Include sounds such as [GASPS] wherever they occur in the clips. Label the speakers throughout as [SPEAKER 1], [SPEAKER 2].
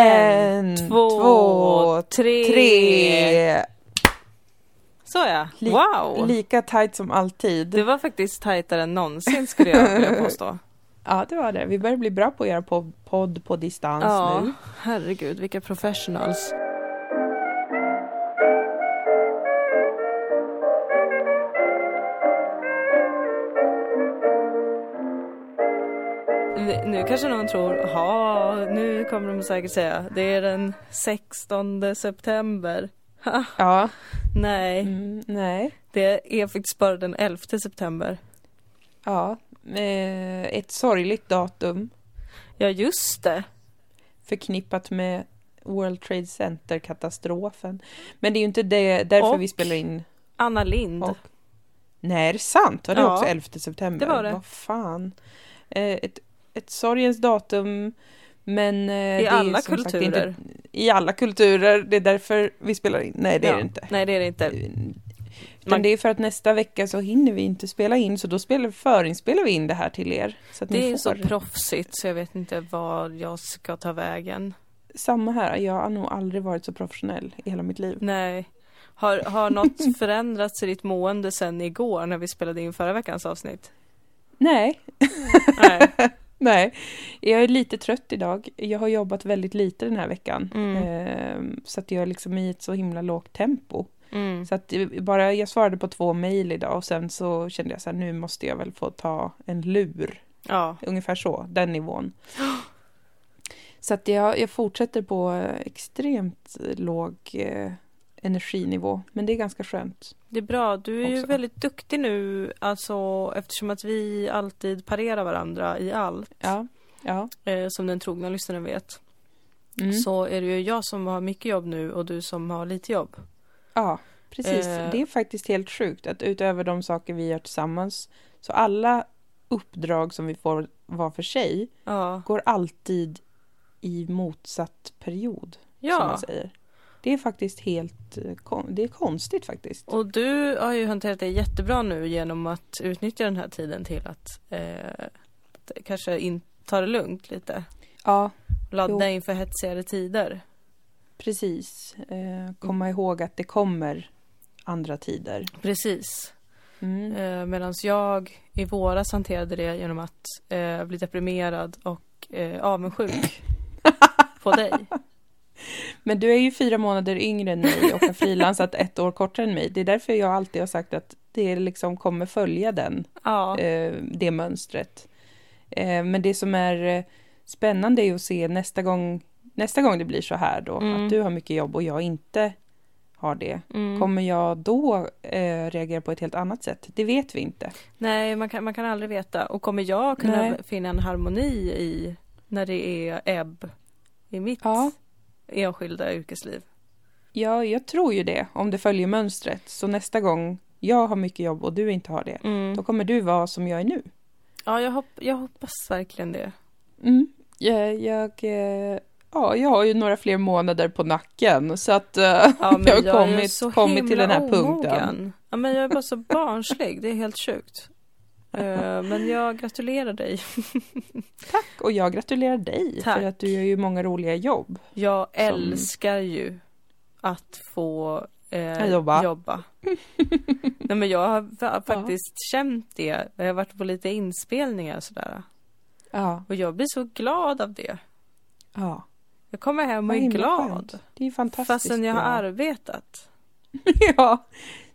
[SPEAKER 1] En, två,
[SPEAKER 2] tre.
[SPEAKER 1] tre.
[SPEAKER 2] Så ja.
[SPEAKER 1] Li-
[SPEAKER 2] wow!
[SPEAKER 1] Lika tajt som alltid.
[SPEAKER 2] det var faktiskt tajtare än någonsin skulle jag vilja
[SPEAKER 1] [LAUGHS]
[SPEAKER 2] påstå.
[SPEAKER 1] Ja, det var det. Vi börjar bli bra på att göra po- podd på distans nu.
[SPEAKER 2] herregud vilka professionals. Vi- Nu kanske någon tror, ja nu kommer de säkert säga, det är den 16 september. [LAUGHS] Ha,
[SPEAKER 1] Ja.
[SPEAKER 2] nej,
[SPEAKER 1] Mm, nej.
[SPEAKER 2] det är faktiskt bara den 11 september.
[SPEAKER 1] Ja. Eh, ett sorgligt datum
[SPEAKER 2] Ja just det.
[SPEAKER 1] förknippat med World Trade Center-katastrofen. Men det är ju inte det, därför
[SPEAKER 2] Och-
[SPEAKER 1] vi spelar in.
[SPEAKER 2] Anna Lind.
[SPEAKER 1] Och- Nej, är det sant? Var det
[SPEAKER 2] Ja.
[SPEAKER 1] också 11 september?
[SPEAKER 2] Det var det.
[SPEAKER 1] Vad fan. Eh, ett, ett sorgens datum, men... eh,
[SPEAKER 2] I
[SPEAKER 1] det är
[SPEAKER 2] alla
[SPEAKER 1] som sagt
[SPEAKER 2] kulturer.
[SPEAKER 1] inte, I alla kulturer, det är därför vi spelar in. Nej, det är
[SPEAKER 2] Ja.
[SPEAKER 1] det inte.
[SPEAKER 2] Nej det är det inte.
[SPEAKER 1] Utan
[SPEAKER 2] Man-
[SPEAKER 1] det är för att nästa vecka så hinner vi inte spela in, så då spelar, förinspelar vi in det här till er. Så att
[SPEAKER 2] Det
[SPEAKER 1] ni
[SPEAKER 2] är
[SPEAKER 1] får.
[SPEAKER 2] så proffsigt så jag vet inte vad jag ska ta vägen.
[SPEAKER 1] Samma här, jag har nog aldrig varit så professionell i hela mitt liv.
[SPEAKER 2] Nej. Har, har
[SPEAKER 1] [LAUGHS]
[SPEAKER 2] något förändrats i ditt mående sen igår när vi spelade in förra veckans avsnitt?
[SPEAKER 1] Nej,
[SPEAKER 2] Nej.
[SPEAKER 1] [LAUGHS] nej. Jag är lite trött idag. Jag har jobbat väldigt lite den här veckan.
[SPEAKER 2] Mm.
[SPEAKER 1] Ehm, så att jag är liksom i ett så himla lågt tempo.
[SPEAKER 2] Mm.
[SPEAKER 1] Så att det- bara jag svarade på två mejl idag och sen så kände jag så här, nu måste jag väl få ta en lur.
[SPEAKER 2] Ja.
[SPEAKER 1] Ungefär så, den nivån. Så att jag, jag fortsätter på eh, extremt låg eh, energinivå, men det är ganska skönt.
[SPEAKER 2] Det är bra. Du är ju
[SPEAKER 1] Också.
[SPEAKER 2] väldigt duktig nu alltså eftersom att vi alltid parerar varandra i allt.
[SPEAKER 1] Ja, ja.
[SPEAKER 2] Eh, som den trogna lyssnaren vet.
[SPEAKER 1] Mm.
[SPEAKER 2] Så är det ju jag som har mycket jobb nu och du som har lite jobb.
[SPEAKER 1] Ja, precis.
[SPEAKER 2] Eh.
[SPEAKER 1] Det är faktiskt helt sjukt att utöver de saker vi gör tillsammans, så alla uppdrag som vi får var för sig
[SPEAKER 2] Ja.
[SPEAKER 1] går alltid i motsatt period, som man
[SPEAKER 2] Ja.
[SPEAKER 1] säger. Det är faktiskt helt eh, kon- det är konstigt faktiskt.
[SPEAKER 2] Och du har ju hanterat det jättebra nu genom att utnyttja den här tiden till att eh, t- kanske in, ta det lugnt lite.
[SPEAKER 1] Ja,
[SPEAKER 2] Ladda inför hetsigare tider.
[SPEAKER 1] precis. Eh, komma ihåg att det kommer andra tider.
[SPEAKER 2] Precis.
[SPEAKER 1] Mm.
[SPEAKER 2] Eh, Medan jag i våras hanterade det genom att eh, bli deprimerad och eh,
[SPEAKER 1] [LAUGHS]
[SPEAKER 2] avundsjuk på dig.
[SPEAKER 1] Men du är ju fyra månader yngre än mig och har frilansat ett år kortare än mig. Det är därför jag alltid har sagt att det liksom kommer följa den
[SPEAKER 2] Ja,
[SPEAKER 1] eh, det mönstret. Eh, men det som är eh, spännande är ju att se nästa gång, nästa gång det blir så här då,
[SPEAKER 2] Mm.
[SPEAKER 1] att du har mycket jobb och jag inte har det.
[SPEAKER 2] mm.
[SPEAKER 1] Kommer jag då eh, reagera på ett helt annat sätt? Det vet vi inte.
[SPEAKER 2] Nej, man kan, man kan aldrig veta. Och kommer jag kunna
[SPEAKER 1] Nej.
[SPEAKER 2] finna en harmoni i när det är ebb i mitt
[SPEAKER 1] Ja.
[SPEAKER 2] enskilda yrkesliv?
[SPEAKER 1] Ja, jag tror ju det, om det följer mönstret. Så nästa gång jag har mycket jobb och du inte har det,
[SPEAKER 2] Mm.
[SPEAKER 1] då kommer du vara som jag är nu.
[SPEAKER 2] Ja, jag, hopp- jag hoppas verkligen det.
[SPEAKER 1] Mm. Jag, jag, eh, ja, jag har ju några fler månader på nacken, så att eh,
[SPEAKER 2] [LAUGHS]
[SPEAKER 1] [LAUGHS]
[SPEAKER 2] Ja,
[SPEAKER 1] jag har
[SPEAKER 2] är ju
[SPEAKER 1] kommit,
[SPEAKER 2] så
[SPEAKER 1] kommit till
[SPEAKER 2] himla
[SPEAKER 1] den här punkten.
[SPEAKER 2] omogen. Ja, men jag är bara så barnslig, det är helt [LAUGHS] sjukt. Eh, Men jag gratulerar dig.
[SPEAKER 1] Och jag gratulerar dig
[SPEAKER 2] Tack.
[SPEAKER 1] för att du gör ju många roliga jobb.
[SPEAKER 2] Jag
[SPEAKER 1] Som-
[SPEAKER 2] älskar ju att få eh,
[SPEAKER 1] Att jobba.
[SPEAKER 2] [LAUGHS] Nej, men jag har fa- faktiskt känt det. Jag har varit på lite inspelningar och sådär.
[SPEAKER 1] Ja,
[SPEAKER 2] Och jag blir så glad av det.
[SPEAKER 1] ja.
[SPEAKER 2] Jag kommer hem och
[SPEAKER 1] Vad
[SPEAKER 2] är
[SPEAKER 1] himla
[SPEAKER 2] glad.
[SPEAKER 1] skönt. Det är ju fantastiskt.
[SPEAKER 2] Fastän jag har
[SPEAKER 1] bra.
[SPEAKER 2] arbetat.
[SPEAKER 1] [LAUGHS] ja,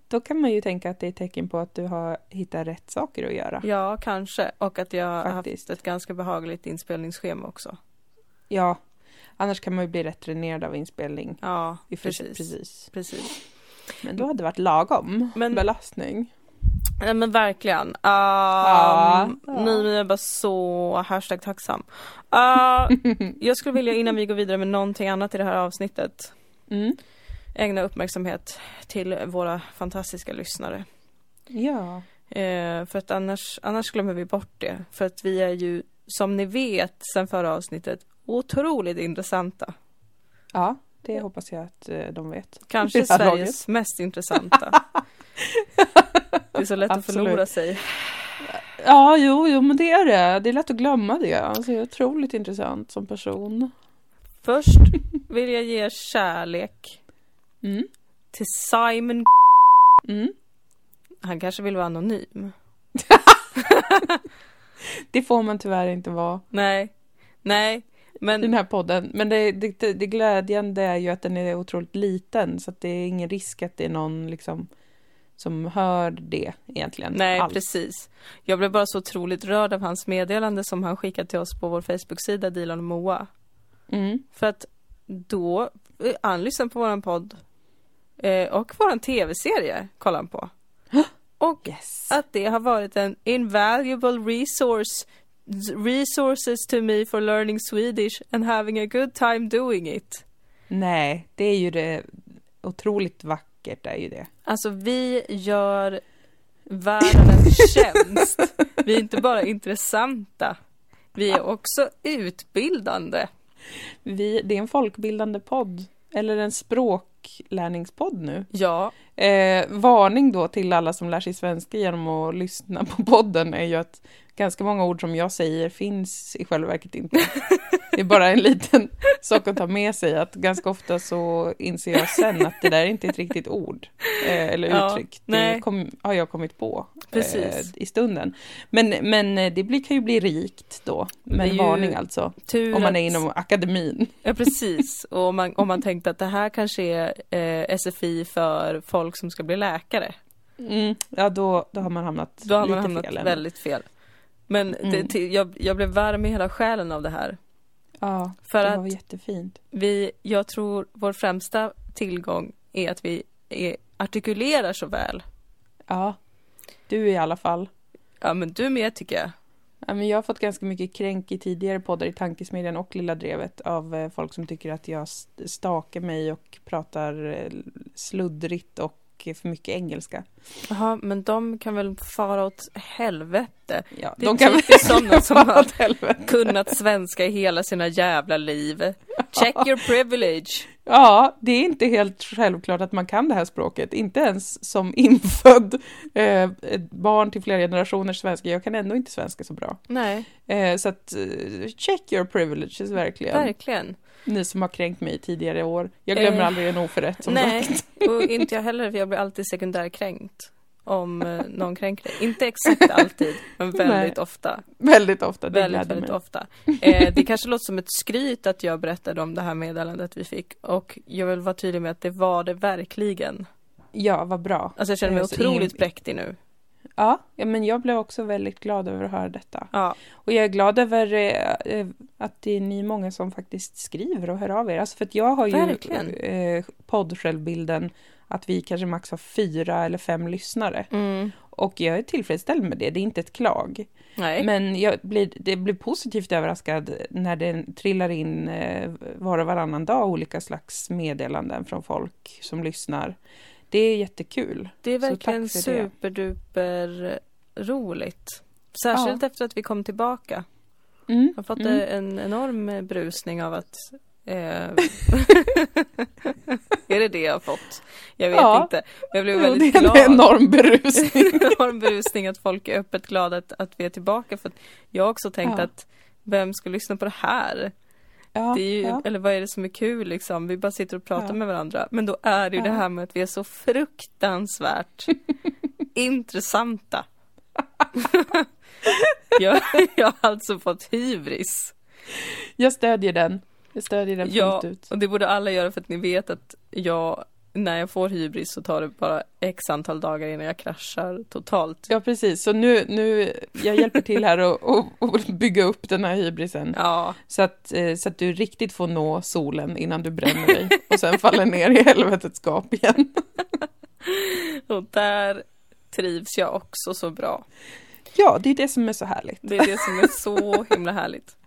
[SPEAKER 1] då kan man ju tänka att det är tecken på att du har hittat rätt saker att göra.
[SPEAKER 2] Ja, kanske. Och att jag har haft
[SPEAKER 1] Faktiskt.
[SPEAKER 2] ett ganska behagligt inspelningsschema också.
[SPEAKER 1] Ja, annars kan man ju bli rätt dränerad av inspelning.
[SPEAKER 2] Ja,
[SPEAKER 1] I och för sig-
[SPEAKER 2] precis.
[SPEAKER 1] precis.
[SPEAKER 2] Precis.
[SPEAKER 1] Men då hade det varit lagom
[SPEAKER 2] Men-
[SPEAKER 1] belastning.
[SPEAKER 2] Nej men verkligen. Um,
[SPEAKER 1] ja.
[SPEAKER 2] Nej men jag är bara så hashtag tacksam.
[SPEAKER 1] [LAUGHS]
[SPEAKER 2] Ah, jag skulle vilja innan vi går vidare med någonting annat i det här avsnittet
[SPEAKER 1] Mm.
[SPEAKER 2] ägna uppmärksamhet till våra fantastiska lyssnare.
[SPEAKER 1] Ja,
[SPEAKER 2] Eh, för att annars, annars glömmer vi bort det. För att vi är ju, som ni vet sen förra avsnittet, otroligt intressanta.
[SPEAKER 1] ja, det hoppas jag att eh, de vet.
[SPEAKER 2] Kanske
[SPEAKER 1] [LAUGHS] Det här
[SPEAKER 2] Sveriges
[SPEAKER 1] laget.
[SPEAKER 2] mest
[SPEAKER 1] [LAUGHS]
[SPEAKER 2] intressanta. Det är så lätt att
[SPEAKER 1] Absolut.
[SPEAKER 2] förlora sig.
[SPEAKER 1] Ja, jo, jo, men det är det. Det är lätt att glömma det. Alltså, jag är otroligt intressant som person.
[SPEAKER 2] Först vill jag ge kärlek
[SPEAKER 1] Mm.
[SPEAKER 2] till Simon
[SPEAKER 1] Mm.
[SPEAKER 2] Han kanske vill vara anonym.
[SPEAKER 1] Det får man tyvärr inte vara
[SPEAKER 2] Nej. Nej.
[SPEAKER 1] i den
[SPEAKER 2] Men
[SPEAKER 1] här podden. Men det, det, det, det glädjande är ju att den är otroligt liten så att det är ingen risk att det är någon liksom som hör det egentligen.
[SPEAKER 2] nej,
[SPEAKER 1] alls.
[SPEAKER 2] precis. Jag blev bara så otroligt rörd av hans meddelande som han skickade till oss på vår Facebook-sida Dilan och Moa.
[SPEAKER 1] Mm.
[SPEAKER 2] För att då, eh, han lyssnar på våran podd eh, och våran tv-serie kollar han på. Och
[SPEAKER 1] Yes.
[SPEAKER 2] att det har varit en invaluable resource resources to me for learning Swedish and having a good time doing it.
[SPEAKER 1] Nej, det är ju det otroligt vackert är ju det.
[SPEAKER 2] Alltså vi [LAUGHS] gör världen en tjänst. Vi är inte bara intressanta. Vi är också utbildande.
[SPEAKER 1] Vi, det är en folkbildande podd, eller en språklärningspodd nu.
[SPEAKER 2] Ja,
[SPEAKER 1] Eh, varning då till alla som lär sig svenska genom att lyssna på podden är ju att ganska många ord som jag säger finns i själva verket inte. Det är bara en liten sak att ta med sig att ganska ofta så inser jag sen att det där är inte ett riktigt ord eh, eller
[SPEAKER 2] Ja,
[SPEAKER 1] uttryck.
[SPEAKER 2] nej.
[SPEAKER 1] Det kom, har jag kommit på eh,
[SPEAKER 2] Precis.
[SPEAKER 1] i stunden. Men, men eh, det blir, kan ju bli rikt då.
[SPEAKER 2] Det
[SPEAKER 1] Men
[SPEAKER 2] är ju
[SPEAKER 1] varning alltså,
[SPEAKER 2] tur
[SPEAKER 1] om man är
[SPEAKER 2] att-
[SPEAKER 1] inom akademin.
[SPEAKER 2] Ja precis, och om man, om man tänkte att det här kanske är eh, SFI för folk som ska bli läkare.
[SPEAKER 1] Mm, ja, då, då har man hamnat
[SPEAKER 2] Då har man
[SPEAKER 1] lite
[SPEAKER 2] hamnat
[SPEAKER 1] fel. ändå.
[SPEAKER 2] väldigt fel. Men det,
[SPEAKER 1] Mm.
[SPEAKER 2] till, jag, jag blev varm i hela själen av det här.
[SPEAKER 1] Ja,
[SPEAKER 2] För
[SPEAKER 1] det var
[SPEAKER 2] att-
[SPEAKER 1] jättefint.
[SPEAKER 2] Vi, jag tror vår främsta tillgång är att vi är, artikulerar så väl.
[SPEAKER 1] Ja, du i alla fall.
[SPEAKER 2] Ja men du med tycker jag.
[SPEAKER 1] Ja, men jag har fått ganska mycket kränk i tidigare poddar i Tankesmedjan och Lilla Drevet av eh, folk som tycker att jag st- stakar mig och pratar eh, sluddrigt och eh, för mycket engelska.
[SPEAKER 2] Jaha, men de kan väl fara åt helvete.
[SPEAKER 1] Ja,
[SPEAKER 2] Det är typiskt
[SPEAKER 1] [LAUGHS]
[SPEAKER 2] sådana som har
[SPEAKER 1] åt helvete.
[SPEAKER 2] [LAUGHS] kunnat svenska i hela sina jävla liv. Check your privilege.
[SPEAKER 1] Ja, det är inte helt självklart att man kan det här språket. Inte ens som infödd eh, ett barn till flera generationer svenska. Jag kan ändå inte svenska så bra.
[SPEAKER 2] Nej,
[SPEAKER 1] Eh, så att, eh, check your privileges verkligen.
[SPEAKER 2] verkligen.
[SPEAKER 1] Ni som har kränkt mig i tidigare år. Jag glömmer
[SPEAKER 2] Eh,
[SPEAKER 1] aldrig en oförrätt som
[SPEAKER 2] Nej,
[SPEAKER 1] sagt. [LAUGHS]
[SPEAKER 2] och inte jag heller för jag blir alltid sekundärkränkt om eh, någon kränker dig. Inte exakt [LAUGHS] alltid, men väldigt ofta.
[SPEAKER 1] Väldigt ofta, det
[SPEAKER 2] Väldigt,
[SPEAKER 1] gläder
[SPEAKER 2] väldigt
[SPEAKER 1] mig.
[SPEAKER 2] ofta. Eh, det kanske låter som ett skryt att jag berättade om det här meddelandet vi fick och jag vill vara tydlig med att det var det verkligen.
[SPEAKER 1] Ja, vad bra.
[SPEAKER 2] Alltså jag känner mig
[SPEAKER 1] Eh, så
[SPEAKER 2] otroligt
[SPEAKER 1] ingen-
[SPEAKER 2] präktig nu.
[SPEAKER 1] Ja, ja, men jag blev också väldigt glad över att höra detta.
[SPEAKER 2] Ja,
[SPEAKER 1] Och jag är glad över eh, eh, att det är ni många som faktiskt skriver och hör av er. Alltså för att jag har ju
[SPEAKER 2] Verkligen.
[SPEAKER 1] eh, poddsjälvbilden att vi kanske max har fyra eller fem lyssnare.
[SPEAKER 2] mm.
[SPEAKER 1] Och jag är tillfredsställd med det, det är inte ett klag.
[SPEAKER 2] nej.
[SPEAKER 1] Men jag blir, det blir positivt överraskad när det trillar in eh, var och varannan dag olika slags meddelanden från folk som lyssnar. Det är jättekul.
[SPEAKER 2] Det är
[SPEAKER 1] Så
[SPEAKER 2] verkligen
[SPEAKER 1] tack för det.
[SPEAKER 2] superduper roligt. Särskilt efter att vi kom tillbaka.
[SPEAKER 1] Mm,
[SPEAKER 2] Jag har fått
[SPEAKER 1] mm.
[SPEAKER 2] eh, en enorm eh, brusning av
[SPEAKER 1] [LAUGHS]
[SPEAKER 2] att eh, [LAUGHS] Är det det jag har fått? Jag vet
[SPEAKER 1] Ja.
[SPEAKER 2] inte. Men jag blev
[SPEAKER 1] Jo,
[SPEAKER 2] väldigt
[SPEAKER 1] det är
[SPEAKER 2] glad.
[SPEAKER 1] en enorm
[SPEAKER 2] [LAUGHS]
[SPEAKER 1] berusning.
[SPEAKER 2] enorm brusning att folk är öppet glada att, att vi är tillbaka. För att jag har också tänkt
[SPEAKER 1] Ja.
[SPEAKER 2] att vem ska lyssna på det här?
[SPEAKER 1] Ja,
[SPEAKER 2] Det är ju,
[SPEAKER 1] ja.
[SPEAKER 2] Eller vad är det som är kul liksom? Vi bara sitter och pratar
[SPEAKER 1] Ja.
[SPEAKER 2] med varandra. Men då är det ju
[SPEAKER 1] Ja.
[SPEAKER 2] det här med att vi är så
[SPEAKER 1] [LAUGHS]
[SPEAKER 2] fruktansvärt intressanta. [LAUGHS] jag, jag har alltså fått hybris.
[SPEAKER 1] Jag stödjer den. Jag stödjer den
[SPEAKER 2] Ja,
[SPEAKER 1] fullt ut.
[SPEAKER 2] och det borde alla göra för att ni vet att jag, när jag får hybris så tar det bara x antal dagar innan jag kraschar totalt.
[SPEAKER 1] Ja, precis. Så nu, nu jag hjälper till här och, och, och bygga upp den här hybrisen.
[SPEAKER 2] Ja,
[SPEAKER 1] Så, att, eh, så att du riktigt får nå solen innan du bränner dig och sen faller ner i helvetets gap igen.
[SPEAKER 2] och där trivs jag också så bra.
[SPEAKER 1] Ja, det är det som är så härligt.
[SPEAKER 2] Det är det som är
[SPEAKER 1] [LAUGHS]
[SPEAKER 2] så himla härligt.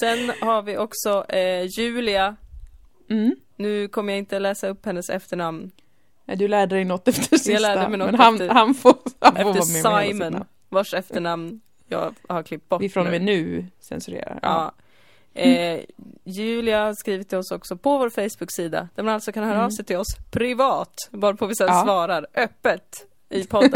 [SPEAKER 2] Sen har vi också eh, Julia.
[SPEAKER 1] Mm.
[SPEAKER 2] Nu kommer jag inte läsa upp hennes efternamn.
[SPEAKER 1] Nej, Du lärde dig något [LAUGHS] efter sista.
[SPEAKER 2] lärde mig något
[SPEAKER 1] men han,
[SPEAKER 2] efter-
[SPEAKER 1] han får, han får
[SPEAKER 2] Efter
[SPEAKER 1] vara med med hela sitt
[SPEAKER 2] Simon,
[SPEAKER 1] namn.
[SPEAKER 2] vars efternamn jag har klippt bort
[SPEAKER 1] Vi från och med
[SPEAKER 2] nu.
[SPEAKER 1] nu censurerar.
[SPEAKER 2] Ja. Eh, Julia har skrivit till oss också på vår Facebook-sida där man alltså kan höra
[SPEAKER 1] Mm.
[SPEAKER 2] av sig till oss privat, varpå vi sen
[SPEAKER 1] Ja.
[SPEAKER 2] svarar öppet
[SPEAKER 1] [LAUGHS]
[SPEAKER 2] i podden.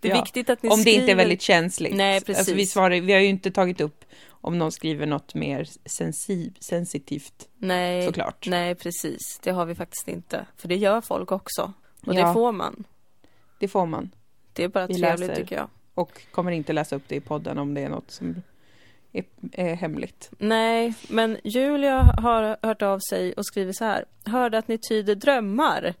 [SPEAKER 2] Det är
[SPEAKER 1] Ja.
[SPEAKER 2] viktigt att ni
[SPEAKER 1] Om det
[SPEAKER 2] skriver...
[SPEAKER 1] inte är väldigt känsligt.
[SPEAKER 2] Nej,
[SPEAKER 1] Alltså, vi,
[SPEAKER 2] precis.
[SPEAKER 1] svarar, vi har ju inte tagit upp om någon skriver något mer sensi sensitivt
[SPEAKER 2] Nej,
[SPEAKER 1] såklart.
[SPEAKER 2] nej precis. Det har vi faktiskt inte. För det gör folk också. Och
[SPEAKER 1] Ja.
[SPEAKER 2] det får man.
[SPEAKER 1] Det får man.
[SPEAKER 2] Det är bara
[SPEAKER 1] Vi
[SPEAKER 2] trevligt
[SPEAKER 1] läser.
[SPEAKER 2] tycker jag.
[SPEAKER 1] Och kommer inte läsa upp det i podden om det är något som är,
[SPEAKER 2] [LAUGHS]
[SPEAKER 1] är hemligt.
[SPEAKER 2] Nej, men Julia har hört av sig och skriver så här. Hörde att ni tyder drömmar.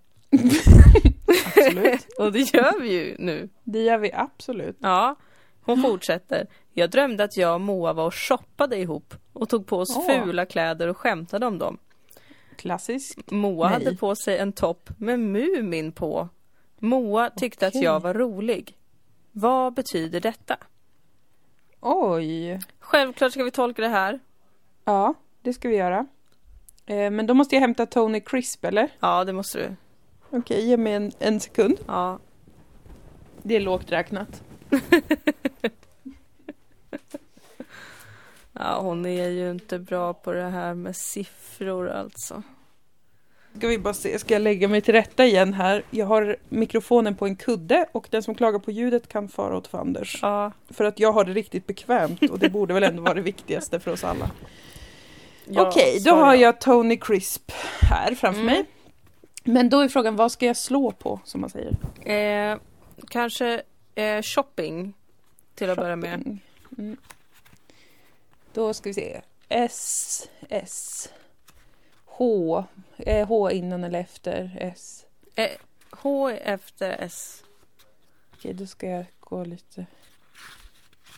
[SPEAKER 1] Absolut.
[SPEAKER 2] Och det gör vi ju nu.
[SPEAKER 1] Det gör vi absolut.
[SPEAKER 2] Ja, hon
[SPEAKER 1] Mm.
[SPEAKER 2] fortsätter. Jag drömde att jag och Moa var och shoppade ihop och tog på oss
[SPEAKER 1] Åh.
[SPEAKER 2] fula kläder och skämtade om dem.
[SPEAKER 1] Klassisk.
[SPEAKER 2] Moa
[SPEAKER 1] Nej.
[SPEAKER 2] hade på sig en topp med Mumin på. Moa tyckte
[SPEAKER 1] Okej.
[SPEAKER 2] att jag var rolig. Vad betyder detta?
[SPEAKER 1] Oj.
[SPEAKER 2] Självklart ska vi tolka det här.
[SPEAKER 1] Ja, det ska vi göra. Eh, men då måste jag hämta Tony Crisp, eller?
[SPEAKER 2] Ja, det måste du.
[SPEAKER 1] Okej, ge mig en, en sekund.
[SPEAKER 2] Ja.
[SPEAKER 1] Det är lågt räknat.
[SPEAKER 2] ja, hon är ju inte bra på det här med siffror alltså.
[SPEAKER 1] Ska vi bara se, ska jag lägga mig till rätta igen här? Jag har mikrofonen på en kudde och den som klagar på ljudet kan fara åt fanders.
[SPEAKER 2] Ja,
[SPEAKER 1] För att jag har det riktigt bekvämt och det borde väl ändå vara det viktigaste för oss alla.
[SPEAKER 2] ja,
[SPEAKER 1] Okej, då
[SPEAKER 2] svarar
[SPEAKER 1] har jag Tony Crisp här framför
[SPEAKER 2] Mm.
[SPEAKER 1] mig. Men då är frågan, vad ska jag slå på, som man säger?
[SPEAKER 2] Eh, kanske eh, shopping till att börja med.
[SPEAKER 1] Shopping. Mm. Då ska vi se. S, S, H, eh, H innan eller efter S.
[SPEAKER 2] Eh, H efter S.
[SPEAKER 1] Okej, då ska jag gå lite.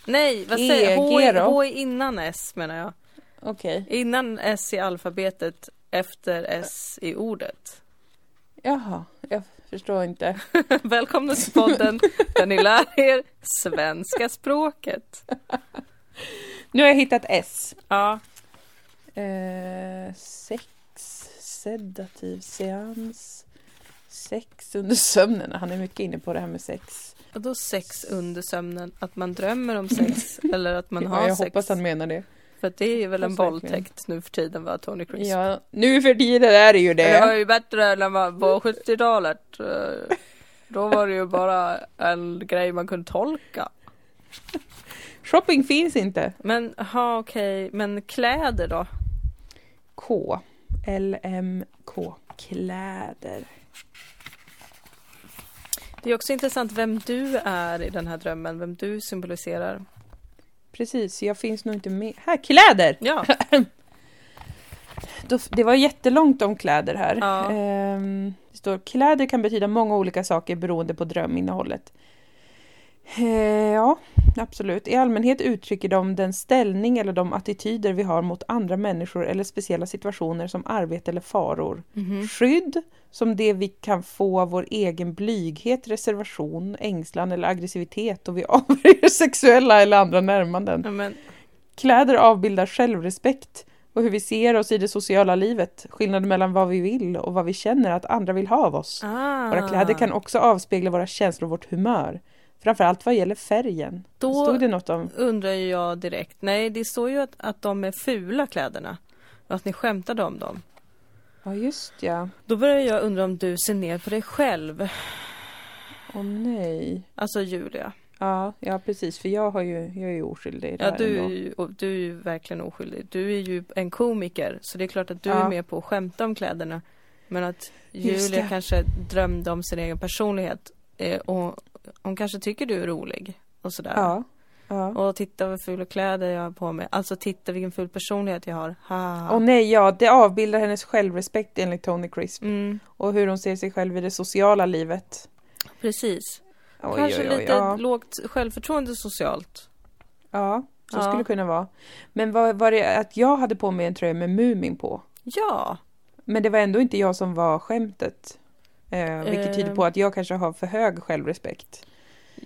[SPEAKER 2] Nej, vad
[SPEAKER 1] E,
[SPEAKER 2] säger jag? H,
[SPEAKER 1] G
[SPEAKER 2] är-
[SPEAKER 1] då?
[SPEAKER 2] H är innan S menar jag.
[SPEAKER 1] Okej,
[SPEAKER 2] Innan S i alfabetet, efter S i ordet. [LAUGHS]
[SPEAKER 1] jaha, jag förstår inte.
[SPEAKER 2] Välkomna till podden där ni lär er svenska språket.
[SPEAKER 1] Nu har jag hittat S.
[SPEAKER 2] Ja,
[SPEAKER 1] Eh, sex, sedativ seans, sex under sömnen. Han är mycket inne på det här med sex.
[SPEAKER 2] och då sex under sömnen. Att man drömmer om
[SPEAKER 1] [LAUGHS]
[SPEAKER 2] sex eller att man
[SPEAKER 1] Ja,
[SPEAKER 2] har
[SPEAKER 1] jag
[SPEAKER 2] sex.
[SPEAKER 1] hoppas han menar det.
[SPEAKER 2] För att det är ju väl en
[SPEAKER 1] Hoppas verkligen.
[SPEAKER 2] våldtäkt nu för tiden, va, Tony Crisp?
[SPEAKER 1] Ja, nu för tiden är det ju det.
[SPEAKER 2] Det var ju bättre när man var på 70-talet. eh, Då var det ju bara en grej man kunde tolka.
[SPEAKER 1] Shopping finns inte.
[SPEAKER 2] Men ha okej, men kläder då?
[SPEAKER 1] K. LMK. Kläder.
[SPEAKER 2] Det är också intressant vem du är i den här drömmen, vem du symboliserar.
[SPEAKER 1] Precis, jag finns nog inte med. Här, kläder! [LAUGHS]
[SPEAKER 2] Ja,
[SPEAKER 1] Då- Det var jättelångt om kläder här.
[SPEAKER 2] Ja.
[SPEAKER 1] Ehm, Det står kläder kan betyda många olika saker beroende på dröminnehållet. Eh, Ja, absolut. I allmänhet uttrycker de den ställning eller de attityder vi har mot andra människor eller speciella situationer som arbete eller faror.
[SPEAKER 2] Mm. Mhm.
[SPEAKER 1] Skydd, som det vi kan få av vår egen blyghet, reservation, ängslan eller aggressivitet då vi [LAUGHS] avbryter sexuella eller andra närmanden.
[SPEAKER 2] ja, men
[SPEAKER 1] Kläder avbildar självrespekt och hur vi ser oss i det sociala livet, skillnaden mellan vad vi vill och vad vi känner att andra vill ha av oss.
[SPEAKER 2] ah,
[SPEAKER 1] Våra kläder kan också avspegla våra känslor och vårt humör, framförallt vad gäller färgen.
[SPEAKER 2] Då-
[SPEAKER 1] Stod det något om?
[SPEAKER 2] undrar ju jag direkt. Nej, det står ju att, att de är fula kläderna och att ni skämtade om dem.
[SPEAKER 1] Ja, just ja.
[SPEAKER 2] Då börjar jag undra om du ser ner på dig själv,
[SPEAKER 1] Åh nej.
[SPEAKER 2] alltså Julia.
[SPEAKER 1] Ja, ja precis, för jag, har ju, jag är ju oskyldig i det
[SPEAKER 2] Ja,
[SPEAKER 1] här
[SPEAKER 2] du, är
[SPEAKER 1] ändå.
[SPEAKER 2] ju- och du är ju verkligen oskyldig. Du är ju en komiker, så det är klart att du
[SPEAKER 1] Ja.
[SPEAKER 2] är med på att skämta om kläderna. Men att
[SPEAKER 1] Just
[SPEAKER 2] Julia
[SPEAKER 1] det.
[SPEAKER 2] kanske drömde om sin egen personlighet. eh, Och hon kanske tycker du är rolig och sådär.
[SPEAKER 1] Ja, ja.
[SPEAKER 2] Och titta vad fula kläder jag har på mig. Alltså titta vilken ful personlighet jag har. Ha.
[SPEAKER 1] Åh nej, ja, det avbildar hennes självrespekt enligt Tony Crisp
[SPEAKER 2] Mm,
[SPEAKER 1] och hur hon ser sig själv i det sociala livet.
[SPEAKER 2] precis.
[SPEAKER 1] Oj,
[SPEAKER 2] kanske
[SPEAKER 1] oj, oj,
[SPEAKER 2] lite
[SPEAKER 1] ja.
[SPEAKER 2] lågt självförtroende socialt.
[SPEAKER 1] Ja, så
[SPEAKER 2] Ja.
[SPEAKER 1] skulle det kunna vara. Men var, var det att jag hade på mig en tröja med Mumin på?
[SPEAKER 2] Ja,
[SPEAKER 1] Men det var ändå inte jag som var skämtet. Eh, vilket tyder
[SPEAKER 2] Eh.
[SPEAKER 1] på att jag kanske har för hög självrespekt.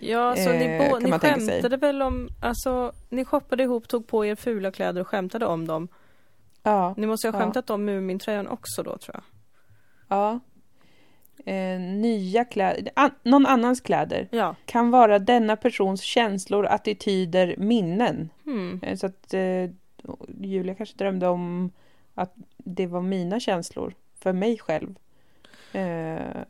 [SPEAKER 2] ja så ni,
[SPEAKER 1] Eh,
[SPEAKER 2] bå-
[SPEAKER 1] kan
[SPEAKER 2] ni
[SPEAKER 1] man tänka sig.
[SPEAKER 2] skämtade väl om, alltså ni shoppade ihop, tog på er fula kläder och skämtade om dem.
[SPEAKER 1] Ja.
[SPEAKER 2] Ni måste ha
[SPEAKER 1] Ja.
[SPEAKER 2] skämtat om Mumintröjan också då tror jag.
[SPEAKER 1] ja. Eh, nya kläder, an, någon annans kläder
[SPEAKER 2] Ja.
[SPEAKER 1] kan vara denna persons känslor, attityder, minnen.
[SPEAKER 2] Hmm.
[SPEAKER 1] Eh, så att eh, Julia kanske drömde om att det var mina känslor för mig själv. Eh,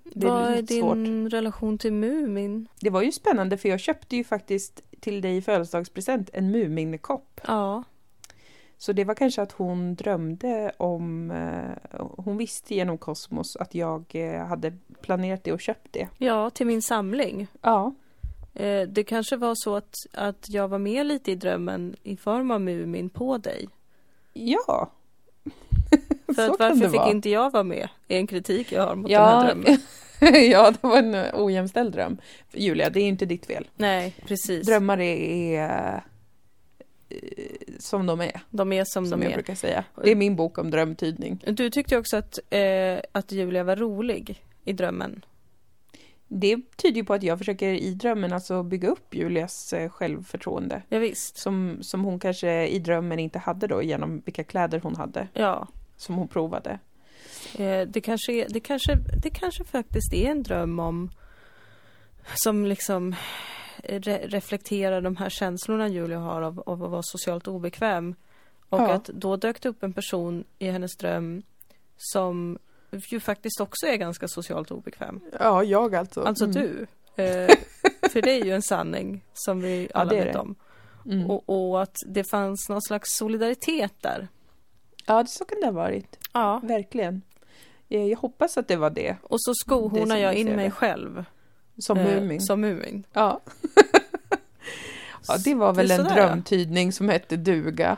[SPEAKER 1] det
[SPEAKER 2] Vad
[SPEAKER 1] är
[SPEAKER 2] är
[SPEAKER 1] lite
[SPEAKER 2] din
[SPEAKER 1] svårt.
[SPEAKER 2] relation till Mumin?
[SPEAKER 1] Det var ju spännande för jag köpte ju faktiskt till dig i födelsedagspresent en Muminkopp.
[SPEAKER 2] Ja.
[SPEAKER 1] Så det var kanske att hon drömde om, eh, hon visste genom Kosmos att jag eh, hade planerat det och köpt det.
[SPEAKER 2] Ja, till min samling.
[SPEAKER 1] Ja,
[SPEAKER 2] Eh, det kanske var så att, att jag var med lite i drömmen i form av Mumin på dig.
[SPEAKER 1] ja. [LAUGHS]
[SPEAKER 2] För att varför fick inte jag vara med? är en kritik jag har mot den här
[SPEAKER 1] ja,
[SPEAKER 2] drömmen.
[SPEAKER 1] [LAUGHS] ja, det var en eh, ojämställd dröm. Julia, det är inte ditt fel.
[SPEAKER 2] [LAUGHS] Nej, precis.
[SPEAKER 1] Drömmar är eh, eh, som de är,
[SPEAKER 2] De är som,
[SPEAKER 1] som
[SPEAKER 2] de
[SPEAKER 1] jag
[SPEAKER 2] är.
[SPEAKER 1] brukar säga. Det är min bok om drömtydning.
[SPEAKER 2] Du tyckte också att, eh, att Julia var rolig i drömmen.
[SPEAKER 1] Det tyder ju på att jag försöker i drömmen alltså bygga upp Julias eh, självförtroende.
[SPEAKER 2] Ja, visst.
[SPEAKER 1] Som, som hon kanske i drömmen inte hade då genom vilka kläder hon hade
[SPEAKER 2] Ja,
[SPEAKER 1] som hon provade.
[SPEAKER 2] eh, det, kanske är, det, kanske, det kanske faktiskt är en dröm om som liksom re- reflekterar de här känslorna Julia har av, av att vara socialt obekväm. Och
[SPEAKER 1] Ja.
[SPEAKER 2] att då dök det upp en person i hennes dröm som ju faktiskt också är ganska socialt obekväm.
[SPEAKER 1] Ja, jag alltså.
[SPEAKER 2] Alltså
[SPEAKER 1] Mm.
[SPEAKER 2] du.
[SPEAKER 1] [LAUGHS]
[SPEAKER 2] Eh, för det är ju en sanning som vi
[SPEAKER 1] Ja,
[SPEAKER 2] alla
[SPEAKER 1] det är
[SPEAKER 2] vet
[SPEAKER 1] det.
[SPEAKER 2] om.
[SPEAKER 1] Mm.
[SPEAKER 2] Och, och att det fanns någon slags solidaritet där.
[SPEAKER 1] Ja, det så kan det ha varit.
[SPEAKER 2] Ja.
[SPEAKER 1] Verkligen. Eh, Jag hoppas att det var det,
[SPEAKER 2] Och så
[SPEAKER 1] Det är
[SPEAKER 2] skohornar
[SPEAKER 1] som
[SPEAKER 2] jag
[SPEAKER 1] vi
[SPEAKER 2] in
[SPEAKER 1] ser
[SPEAKER 2] mig
[SPEAKER 1] det.
[SPEAKER 2] själv.
[SPEAKER 1] som
[SPEAKER 2] eh,
[SPEAKER 1] Mumin.
[SPEAKER 2] Som Mumin.
[SPEAKER 1] Ja. ja, det var väl
[SPEAKER 2] Det är
[SPEAKER 1] en
[SPEAKER 2] sådär, ja.
[SPEAKER 1] drömtydning som hette duga.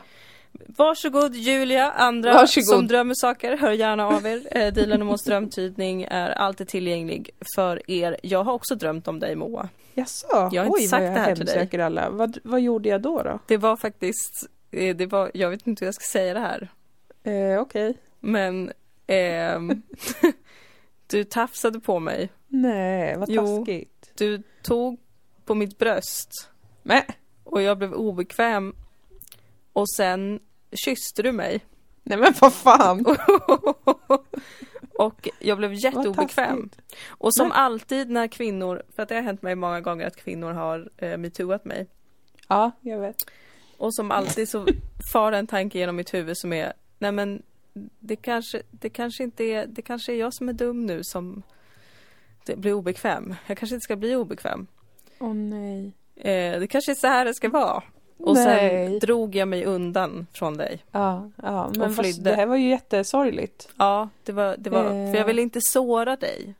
[SPEAKER 2] Varsågod Julia, andra
[SPEAKER 1] Varsågod.
[SPEAKER 2] som drömmer saker, hör gärna av er. Eh, Dilan och Moas drömtydning är alltid tillgänglig för er. Jag har också drömt om dig Moa.
[SPEAKER 1] Jaså?
[SPEAKER 2] Jag har inte
[SPEAKER 1] Oj,
[SPEAKER 2] sagt
[SPEAKER 1] vad jag
[SPEAKER 2] det här till dig.
[SPEAKER 1] hemsöker alla. Vad, vad gjorde jag då? då?
[SPEAKER 2] Det var faktiskt, eh, det var, jag vet inte hur jag ska säga det här.
[SPEAKER 1] Eh, Okej.
[SPEAKER 2] Men ehm, [LAUGHS] du tafsade på mig.
[SPEAKER 1] Nej, vad
[SPEAKER 2] Jo.
[SPEAKER 1] taskigt.
[SPEAKER 2] Du tog på mitt bröst
[SPEAKER 1] Men,
[SPEAKER 2] och jag blev obekväm. Och sen kysste du mig.
[SPEAKER 1] nej men vad fan.
[SPEAKER 2] [LAUGHS] och jag blev
[SPEAKER 1] Vad
[SPEAKER 2] jätteobekväm.
[SPEAKER 1] taskigt.
[SPEAKER 2] Och som
[SPEAKER 1] Men-
[SPEAKER 2] alltid när kvinnor, för att det har hänt mig många gånger att kvinnor har eh, metooat mig.
[SPEAKER 1] Ja, jag vet.
[SPEAKER 2] Och som alltid
[SPEAKER 1] [LAUGHS]
[SPEAKER 2] så far en tanke genom mitt huvud som är, nej men det kanske, det kanske inte är, det kanske är jag som är dum nu som det blir obekväm. Jag kanske inte ska bli obekväm.
[SPEAKER 1] Åh nej.
[SPEAKER 2] Eh, det kanske är så här det ska vara. Och sen
[SPEAKER 1] nej.
[SPEAKER 2] drog jag mig undan från dig.
[SPEAKER 1] Ja, ja
[SPEAKER 2] Och
[SPEAKER 1] men fast,
[SPEAKER 2] flydde.
[SPEAKER 1] det här var ju jättesorgligt.
[SPEAKER 2] Ja, det var, det var
[SPEAKER 1] Eh.
[SPEAKER 2] för jag ville inte såra dig.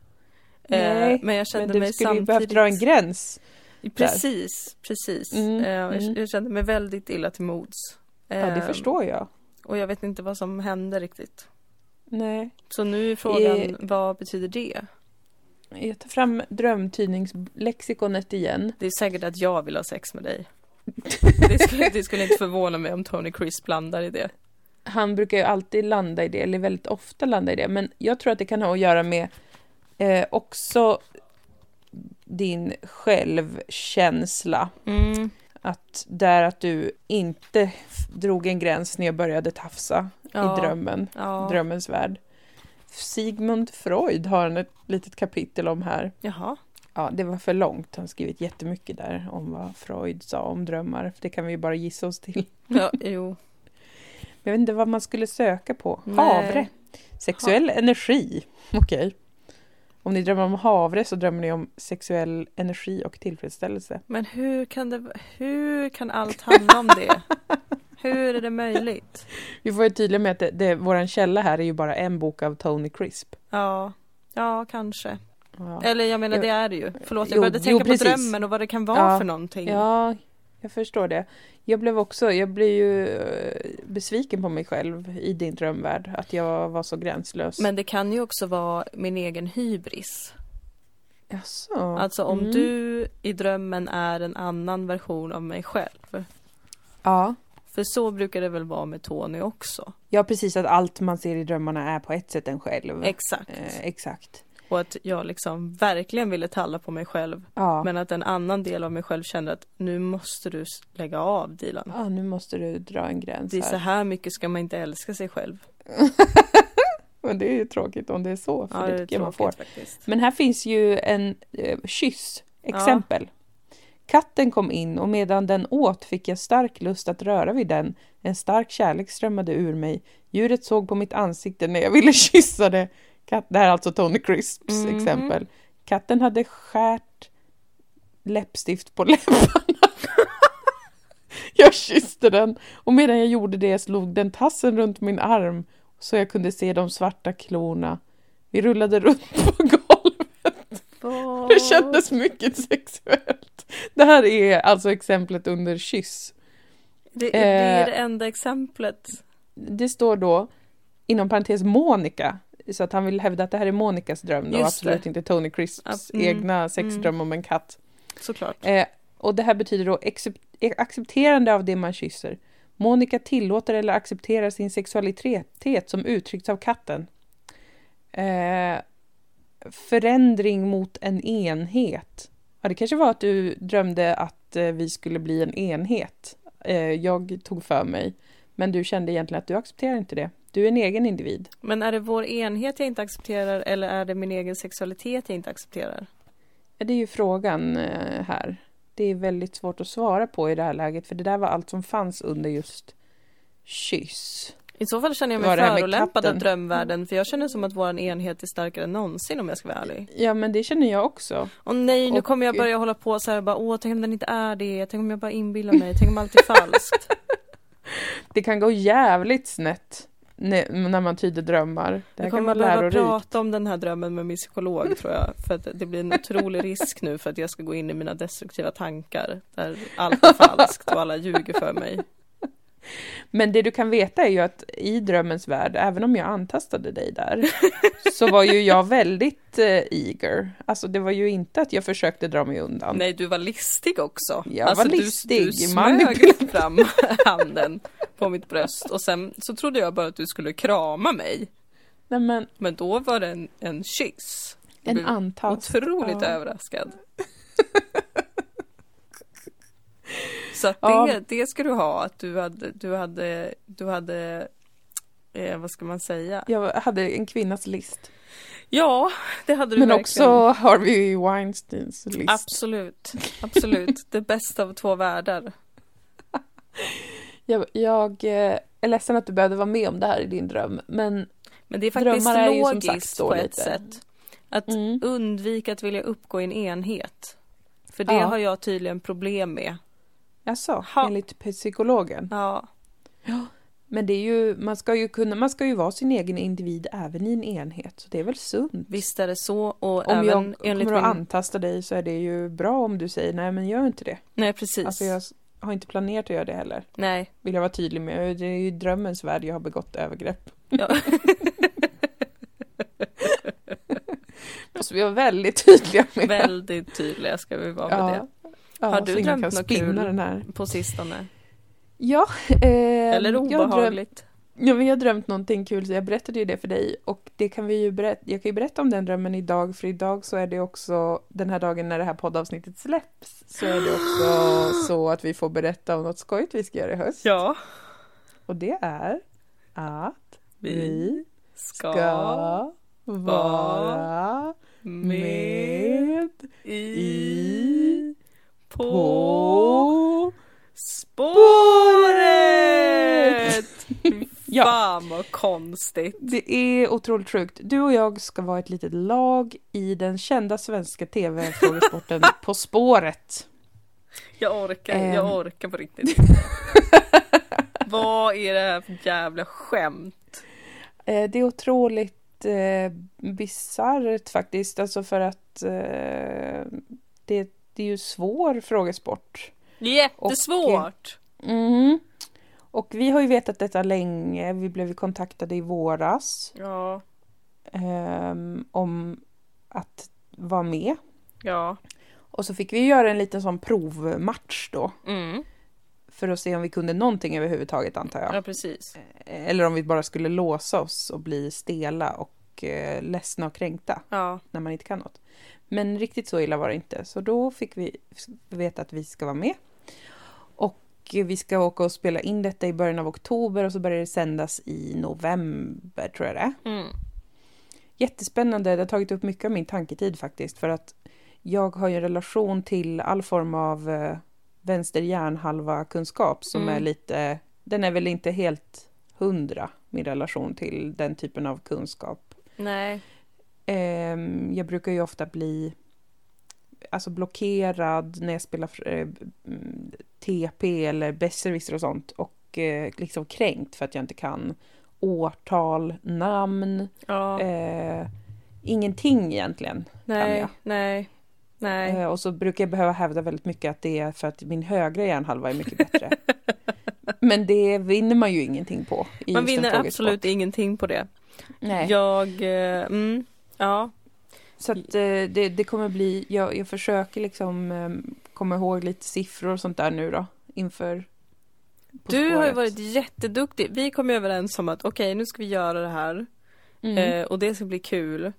[SPEAKER 2] Eh,
[SPEAKER 1] Nej,
[SPEAKER 2] men jag kände
[SPEAKER 1] men du
[SPEAKER 2] mig
[SPEAKER 1] skulle ju
[SPEAKER 2] samtidigt...
[SPEAKER 1] behövt dra en gräns.
[SPEAKER 2] Precis, precis.
[SPEAKER 1] Mm,
[SPEAKER 2] Eh, jag,
[SPEAKER 1] mm.
[SPEAKER 2] jag kände mig väldigt illa till mods.
[SPEAKER 1] Ja, det
[SPEAKER 2] Eh,
[SPEAKER 1] förstår jag.
[SPEAKER 2] Och jag vet inte vad som hände riktigt.
[SPEAKER 1] Nej.
[SPEAKER 2] Så nu är frågan,
[SPEAKER 1] Eh.
[SPEAKER 2] vad betyder det?
[SPEAKER 1] Jag tar fram drömtydningslexikonet igen.
[SPEAKER 2] Det är säkert att jag vill ha sex med
[SPEAKER 1] [LAUGHS]
[SPEAKER 2] dig. Det skulle, det skulle inte förvåna mig om Tony Chris blandar i det.
[SPEAKER 1] han brukar ju alltid landa i det, eller väldigt ofta landa i det, men jag tror att det kan ha att göra med eh, också din självkänsla.
[SPEAKER 2] Mm,
[SPEAKER 1] Att där att du inte f- drog en gräns när jag började tafsa
[SPEAKER 2] ja,
[SPEAKER 1] i drömmen,
[SPEAKER 2] Ja.
[SPEAKER 1] drömmens värld. Sigmund Freud har han ett litet kapitel om här.
[SPEAKER 2] Jaha.
[SPEAKER 1] Ja, det var för långt. Han har skrivit jättemycket där om vad Freud sa om drömmar. Det kan vi ju bara gissa oss till. [LAUGHS]
[SPEAKER 2] Ja, jo.
[SPEAKER 1] Jag vet inte vad man skulle söka på.
[SPEAKER 2] Nej.
[SPEAKER 1] Havre. Sexuell energi. [LAUGHS] Okej. Om ni drömmer om havre så drömmer ni om sexuell energi och tillfredsställelse.
[SPEAKER 2] Men hur kan, det, hur kan allt handla om
[SPEAKER 1] [LAUGHS]
[SPEAKER 2] det? Hur är det möjligt?
[SPEAKER 1] Vi får vara tydliga med att det, det, vår källa här är ju bara en bok av Tony Crisp.
[SPEAKER 2] Ja, ja kanske.
[SPEAKER 1] Ja,
[SPEAKER 2] Eller jag menar
[SPEAKER 1] Jo.
[SPEAKER 2] det är det ju. Förlåt, jag
[SPEAKER 1] Jo,
[SPEAKER 2] började
[SPEAKER 1] jo,
[SPEAKER 2] tänka på
[SPEAKER 1] precis.
[SPEAKER 2] drömmen och vad det kan vara
[SPEAKER 1] Ja.
[SPEAKER 2] för någonting.
[SPEAKER 1] ja jag förstår det. Jag blev också, jag blev ju eh, besviken på mig själv i din drömvärld, att jag var så gränslös.
[SPEAKER 2] Men det kan ju också vara min egen hybris.
[SPEAKER 1] Jaså?
[SPEAKER 2] Alltså om
[SPEAKER 1] Mm.
[SPEAKER 2] du i drömmen är en annan version av mig själv.
[SPEAKER 1] Ja.
[SPEAKER 2] För så brukar det väl vara med Tony också?
[SPEAKER 1] ja, precis att allt man ser i drömmarna är på ett sätt en själv.
[SPEAKER 2] Exakt.
[SPEAKER 1] Eh, exakt.
[SPEAKER 2] Och att jag liksom verkligen ville talla på mig själv.
[SPEAKER 1] Ja.
[SPEAKER 2] Men att en annan del av mig själv kände att nu måste du s- lägga av Dilan.
[SPEAKER 1] Ja, nu måste du dra en gräns
[SPEAKER 2] Det är
[SPEAKER 1] här.
[SPEAKER 2] så här mycket ska man inte älska sig själv.
[SPEAKER 1] [LAUGHS] Men det är ju tråkigt om det är så, för
[SPEAKER 2] Ja,
[SPEAKER 1] det,
[SPEAKER 2] det är
[SPEAKER 1] tycker jag man får.
[SPEAKER 2] tråkigt
[SPEAKER 1] [LAUGHS]
[SPEAKER 2] faktiskt.
[SPEAKER 1] Men här finns ju en eh, kyss, exempel. Katten kom in och medan den åt fick jag stark lust att röra vid den. En stark kärlek strömmade ur mig. Djuret såg på mitt ansikte när jag ville [LAUGHS] kyssa det. Katt, det här är alltså Tony Crisps
[SPEAKER 2] Mhm.
[SPEAKER 1] exempel. Katten hade [LAUGHS] skärt läppstift på läpparna. Jag kysste den och medan jag gjorde det slog den tassen runt min arm så jag kunde se de svarta klorna. Vi rullade runt på [LAUGHS] golvet. Det kändes mycket sexuellt. Det här är alltså exemplet under kyss.
[SPEAKER 2] Det, det är det
[SPEAKER 1] Eh.
[SPEAKER 2] enda exemplet.
[SPEAKER 1] Det står då inom parentes Monica, så att han vill hävda att det här är Monicas dröm då,
[SPEAKER 2] Just
[SPEAKER 1] absolut inte Tony Crisps
[SPEAKER 2] Ab- mm,
[SPEAKER 1] egna sexdröm om en katt.
[SPEAKER 2] Såklart.
[SPEAKER 1] Eh, och det här betyder då excep- eh, accepterande av det man kysser. Monica tillåter eller accepterar sin sexualitet som uttrycks av katten. Eh, förändring mot en enhet. Ja, det kanske var att du drömde att eh, vi skulle bli en enhet. Eh, jag tog för mig. Men du kände egentligen att du accepterar inte det. Du är en egen individ.
[SPEAKER 2] Men är det vår enhet jag inte accepterar eller är det min egen sexualitet jag inte accepterar?
[SPEAKER 1] Ja, Det är ju frågan eh, här. Det är väldigt svårt att svara på i det här läget för det där var allt som fanns under just kyss.
[SPEAKER 2] I så fall känner jag
[SPEAKER 1] Var
[SPEAKER 2] mig
[SPEAKER 1] det här med
[SPEAKER 2] förolämpad av
[SPEAKER 1] katten?
[SPEAKER 2] drömvärlden för jag känner som att vår enhet är starkare än någonsin om jag ska vara ärlig.
[SPEAKER 1] Ja, men det känner jag också.
[SPEAKER 2] Och nej, nu
[SPEAKER 1] Och-
[SPEAKER 2] kommer jag börja hålla på så här och bara åh, tänk om den inte är det, tänk om jag bara inbillar mig, tänk om allt
[SPEAKER 1] [LAUGHS]
[SPEAKER 2] är falskt.
[SPEAKER 1] Det kan gå jävligt snett när när man tyder drömmar. Det här
[SPEAKER 2] Jag
[SPEAKER 1] kan
[SPEAKER 2] kommer
[SPEAKER 1] vara
[SPEAKER 2] behöva
[SPEAKER 1] lärorikt.
[SPEAKER 2] prata om den här drömmen med min psykolog tror jag. För att det blir en otrolig risk nu för att jag ska gå in i mina destruktiva tankar. Där allt är falskt och alla ljuger för mig.
[SPEAKER 1] Men det du kan veta är ju att i drömmens värld, även om jag antastade dig där, så var
[SPEAKER 2] [LAUGHS]
[SPEAKER 1] ju jag väldigt eh, eager. Alltså det var ju inte att jag försökte dra mig undan.
[SPEAKER 2] Nej, du var listig också. Alltså,
[SPEAKER 1] Jag var
[SPEAKER 2] du- Du,
[SPEAKER 1] listig,
[SPEAKER 2] smög
[SPEAKER 1] manipulativ.
[SPEAKER 2] fram handen på mitt bröst och sen så trodde jag bara att du skulle krama mig.
[SPEAKER 1] Nej, men
[SPEAKER 2] Men då var det en, en kyss. Jag
[SPEAKER 1] en
[SPEAKER 2] blev
[SPEAKER 1] antast.
[SPEAKER 2] Otroligt
[SPEAKER 1] Ja. [LAUGHS]
[SPEAKER 2] överraskad. Så att det,
[SPEAKER 1] Ja.
[SPEAKER 2] det ska du ha, att du hade, du hade, du hade, eh, vad ska man säga?
[SPEAKER 1] Jag hade en kvinnas list.
[SPEAKER 2] Ja, det hade du
[SPEAKER 1] Men
[SPEAKER 2] verkligen.
[SPEAKER 1] också Harvey Weinsteins list.
[SPEAKER 2] Absolut, absolut. Det bästa av två världar.
[SPEAKER 1] Jag, jag eh, är ledsen att du behövde vara med om det här i din dröm, men
[SPEAKER 2] Men det är faktiskt
[SPEAKER 1] Drömmar är ju som
[SPEAKER 2] logiskt
[SPEAKER 1] sagt då
[SPEAKER 2] på ett
[SPEAKER 1] lite.
[SPEAKER 2] sätt. Att
[SPEAKER 1] Mm.
[SPEAKER 2] undvika att vilja uppgå i en enhet. För det
[SPEAKER 1] Ja.
[SPEAKER 2] har jag tydligen problem med.
[SPEAKER 1] alltså,
[SPEAKER 2] Ha.
[SPEAKER 1] enligt psykologen.
[SPEAKER 2] Ja,
[SPEAKER 1] Men det är ju, man ska ju kunna, man ska ju vara sin egen individ även i en enhet, så det är väl sunt.
[SPEAKER 2] visst är det så. Och
[SPEAKER 1] Om
[SPEAKER 2] även
[SPEAKER 1] jag
[SPEAKER 2] enligt
[SPEAKER 1] kommer
[SPEAKER 2] min...
[SPEAKER 1] att antasta dig så är det ju bra om du säger nej men gör inte det.
[SPEAKER 2] Nej, precis.
[SPEAKER 1] Alltså jag s- har inte planerat att göra det heller,
[SPEAKER 2] Nej.
[SPEAKER 1] vill jag vara tydlig med. Det är ju i drömmens värld jag har
[SPEAKER 2] [LAUGHS]
[SPEAKER 1] begått övergrepp.
[SPEAKER 2] Ja.
[SPEAKER 1] Måste vi vara väldigt tydliga [LAUGHS] med.
[SPEAKER 2] Väldigt tydliga ska vi vara med
[SPEAKER 1] ja. Ja,
[SPEAKER 2] Har du
[SPEAKER 1] så ingen
[SPEAKER 2] drömt
[SPEAKER 1] kan
[SPEAKER 2] något
[SPEAKER 1] spinna
[SPEAKER 2] kul?
[SPEAKER 1] Den här.
[SPEAKER 2] det. På sistone.
[SPEAKER 1] Ja, eh,
[SPEAKER 2] Eller
[SPEAKER 1] Ehm, jag har drömt-
[SPEAKER 2] obehagligt.
[SPEAKER 1] Ja, men jag har drömt någonting kul, så jag berättade ju det för dig. Och det kan vi ju berätta, jag kan ju berätta om den drömmen idag, för idag så är det också den här dagen när det här poddavsnittet släpps. Så är det
[SPEAKER 2] [GASPS]
[SPEAKER 1] också så att vi får berätta om något skojigt vi ska göra i höst.
[SPEAKER 2] Ja.
[SPEAKER 1] Och det är att
[SPEAKER 2] Vi
[SPEAKER 1] vi
[SPEAKER 2] ska,
[SPEAKER 1] ska vara
[SPEAKER 2] med
[SPEAKER 1] med
[SPEAKER 2] i
[SPEAKER 1] i
[SPEAKER 2] på
[SPEAKER 1] på...
[SPEAKER 2] spåret! Fy
[SPEAKER 1] [LAUGHS] Ja.
[SPEAKER 2] Fan vad konstigt.
[SPEAKER 1] Det är otroligt sjukt. Du och jag ska vara ett litet lag i den kända svenska [LAUGHS] tv-frågesporten På spåret.
[SPEAKER 2] Jag orkar,
[SPEAKER 1] Ehm.
[SPEAKER 2] jag orkar på
[SPEAKER 1] [LAUGHS]
[SPEAKER 2] riktigt. vad är det här för jävla skämt?
[SPEAKER 1] Eh, Det är otroligt eh, bisarrt faktiskt, alltså för att eh, det, det är ju svår frågesport.
[SPEAKER 2] Jättesvårt!
[SPEAKER 1] Mm. Och vi har ju vetat detta länge, vi blev ju kontaktade i våras
[SPEAKER 2] Ja,
[SPEAKER 1] ehm, om att vara med.
[SPEAKER 2] ja.
[SPEAKER 1] Och så fick vi göra en liten sån provmatch då.
[SPEAKER 2] Mm.
[SPEAKER 1] För att se om vi kunde någonting överhuvudtaget antar jag.
[SPEAKER 2] Ja, precis.
[SPEAKER 1] Eller om vi bara skulle låsa oss och bli stela och eh, ledsna och kränkta
[SPEAKER 2] Ja.
[SPEAKER 1] när man inte kan något. Men riktigt så illa var det inte. Så då fick vi veta att vi ska vara med. Och vi ska åka och spela in detta i början av oktober och så börjar det sändas i november tror jag det är.
[SPEAKER 2] Mm.
[SPEAKER 1] Jättespännande, det har tagit upp mycket av min tanketid faktiskt för att jag har ju en relation till all form av eh, vänster hjärnhalva kunskap som
[SPEAKER 2] Mm.
[SPEAKER 1] är lite, den är väl inte helt hundra min relation till den typen av kunskap.
[SPEAKER 2] Nej.
[SPEAKER 1] Ehm, jag brukar ju ofta bli alltså blockerad när jag spelar eh, TP eller besserwisser och sånt och eh, liksom kränkt för att jag inte kan årtal, namn,
[SPEAKER 2] Ja,
[SPEAKER 1] eh, ingenting egentligen.
[SPEAKER 2] nej,
[SPEAKER 1] jag.
[SPEAKER 2] nej, nej.
[SPEAKER 1] Eh, och så brukar jag behöva hävda väldigt mycket att det är för att min högra hjärnhalva är mycket
[SPEAKER 2] [LAUGHS]
[SPEAKER 1] bättre. Men det vinner man ju ingenting på. i
[SPEAKER 2] Man
[SPEAKER 1] just en
[SPEAKER 2] vinner
[SPEAKER 1] frågesport.
[SPEAKER 2] absolut ingenting på det.
[SPEAKER 1] Nej.
[SPEAKER 2] Jag, eh, mm, ja,
[SPEAKER 1] Så att eh, det, det kommer bli, jag, jag försöker liksom eh, komma ihåg lite siffror och sånt där nu då inför På
[SPEAKER 2] Du har ju
[SPEAKER 1] spåret.
[SPEAKER 2] varit jätteduktig. Vi kom ju överens om att okej, nu ska vi göra det här
[SPEAKER 1] Mm.
[SPEAKER 2] eh, och det ska bli kul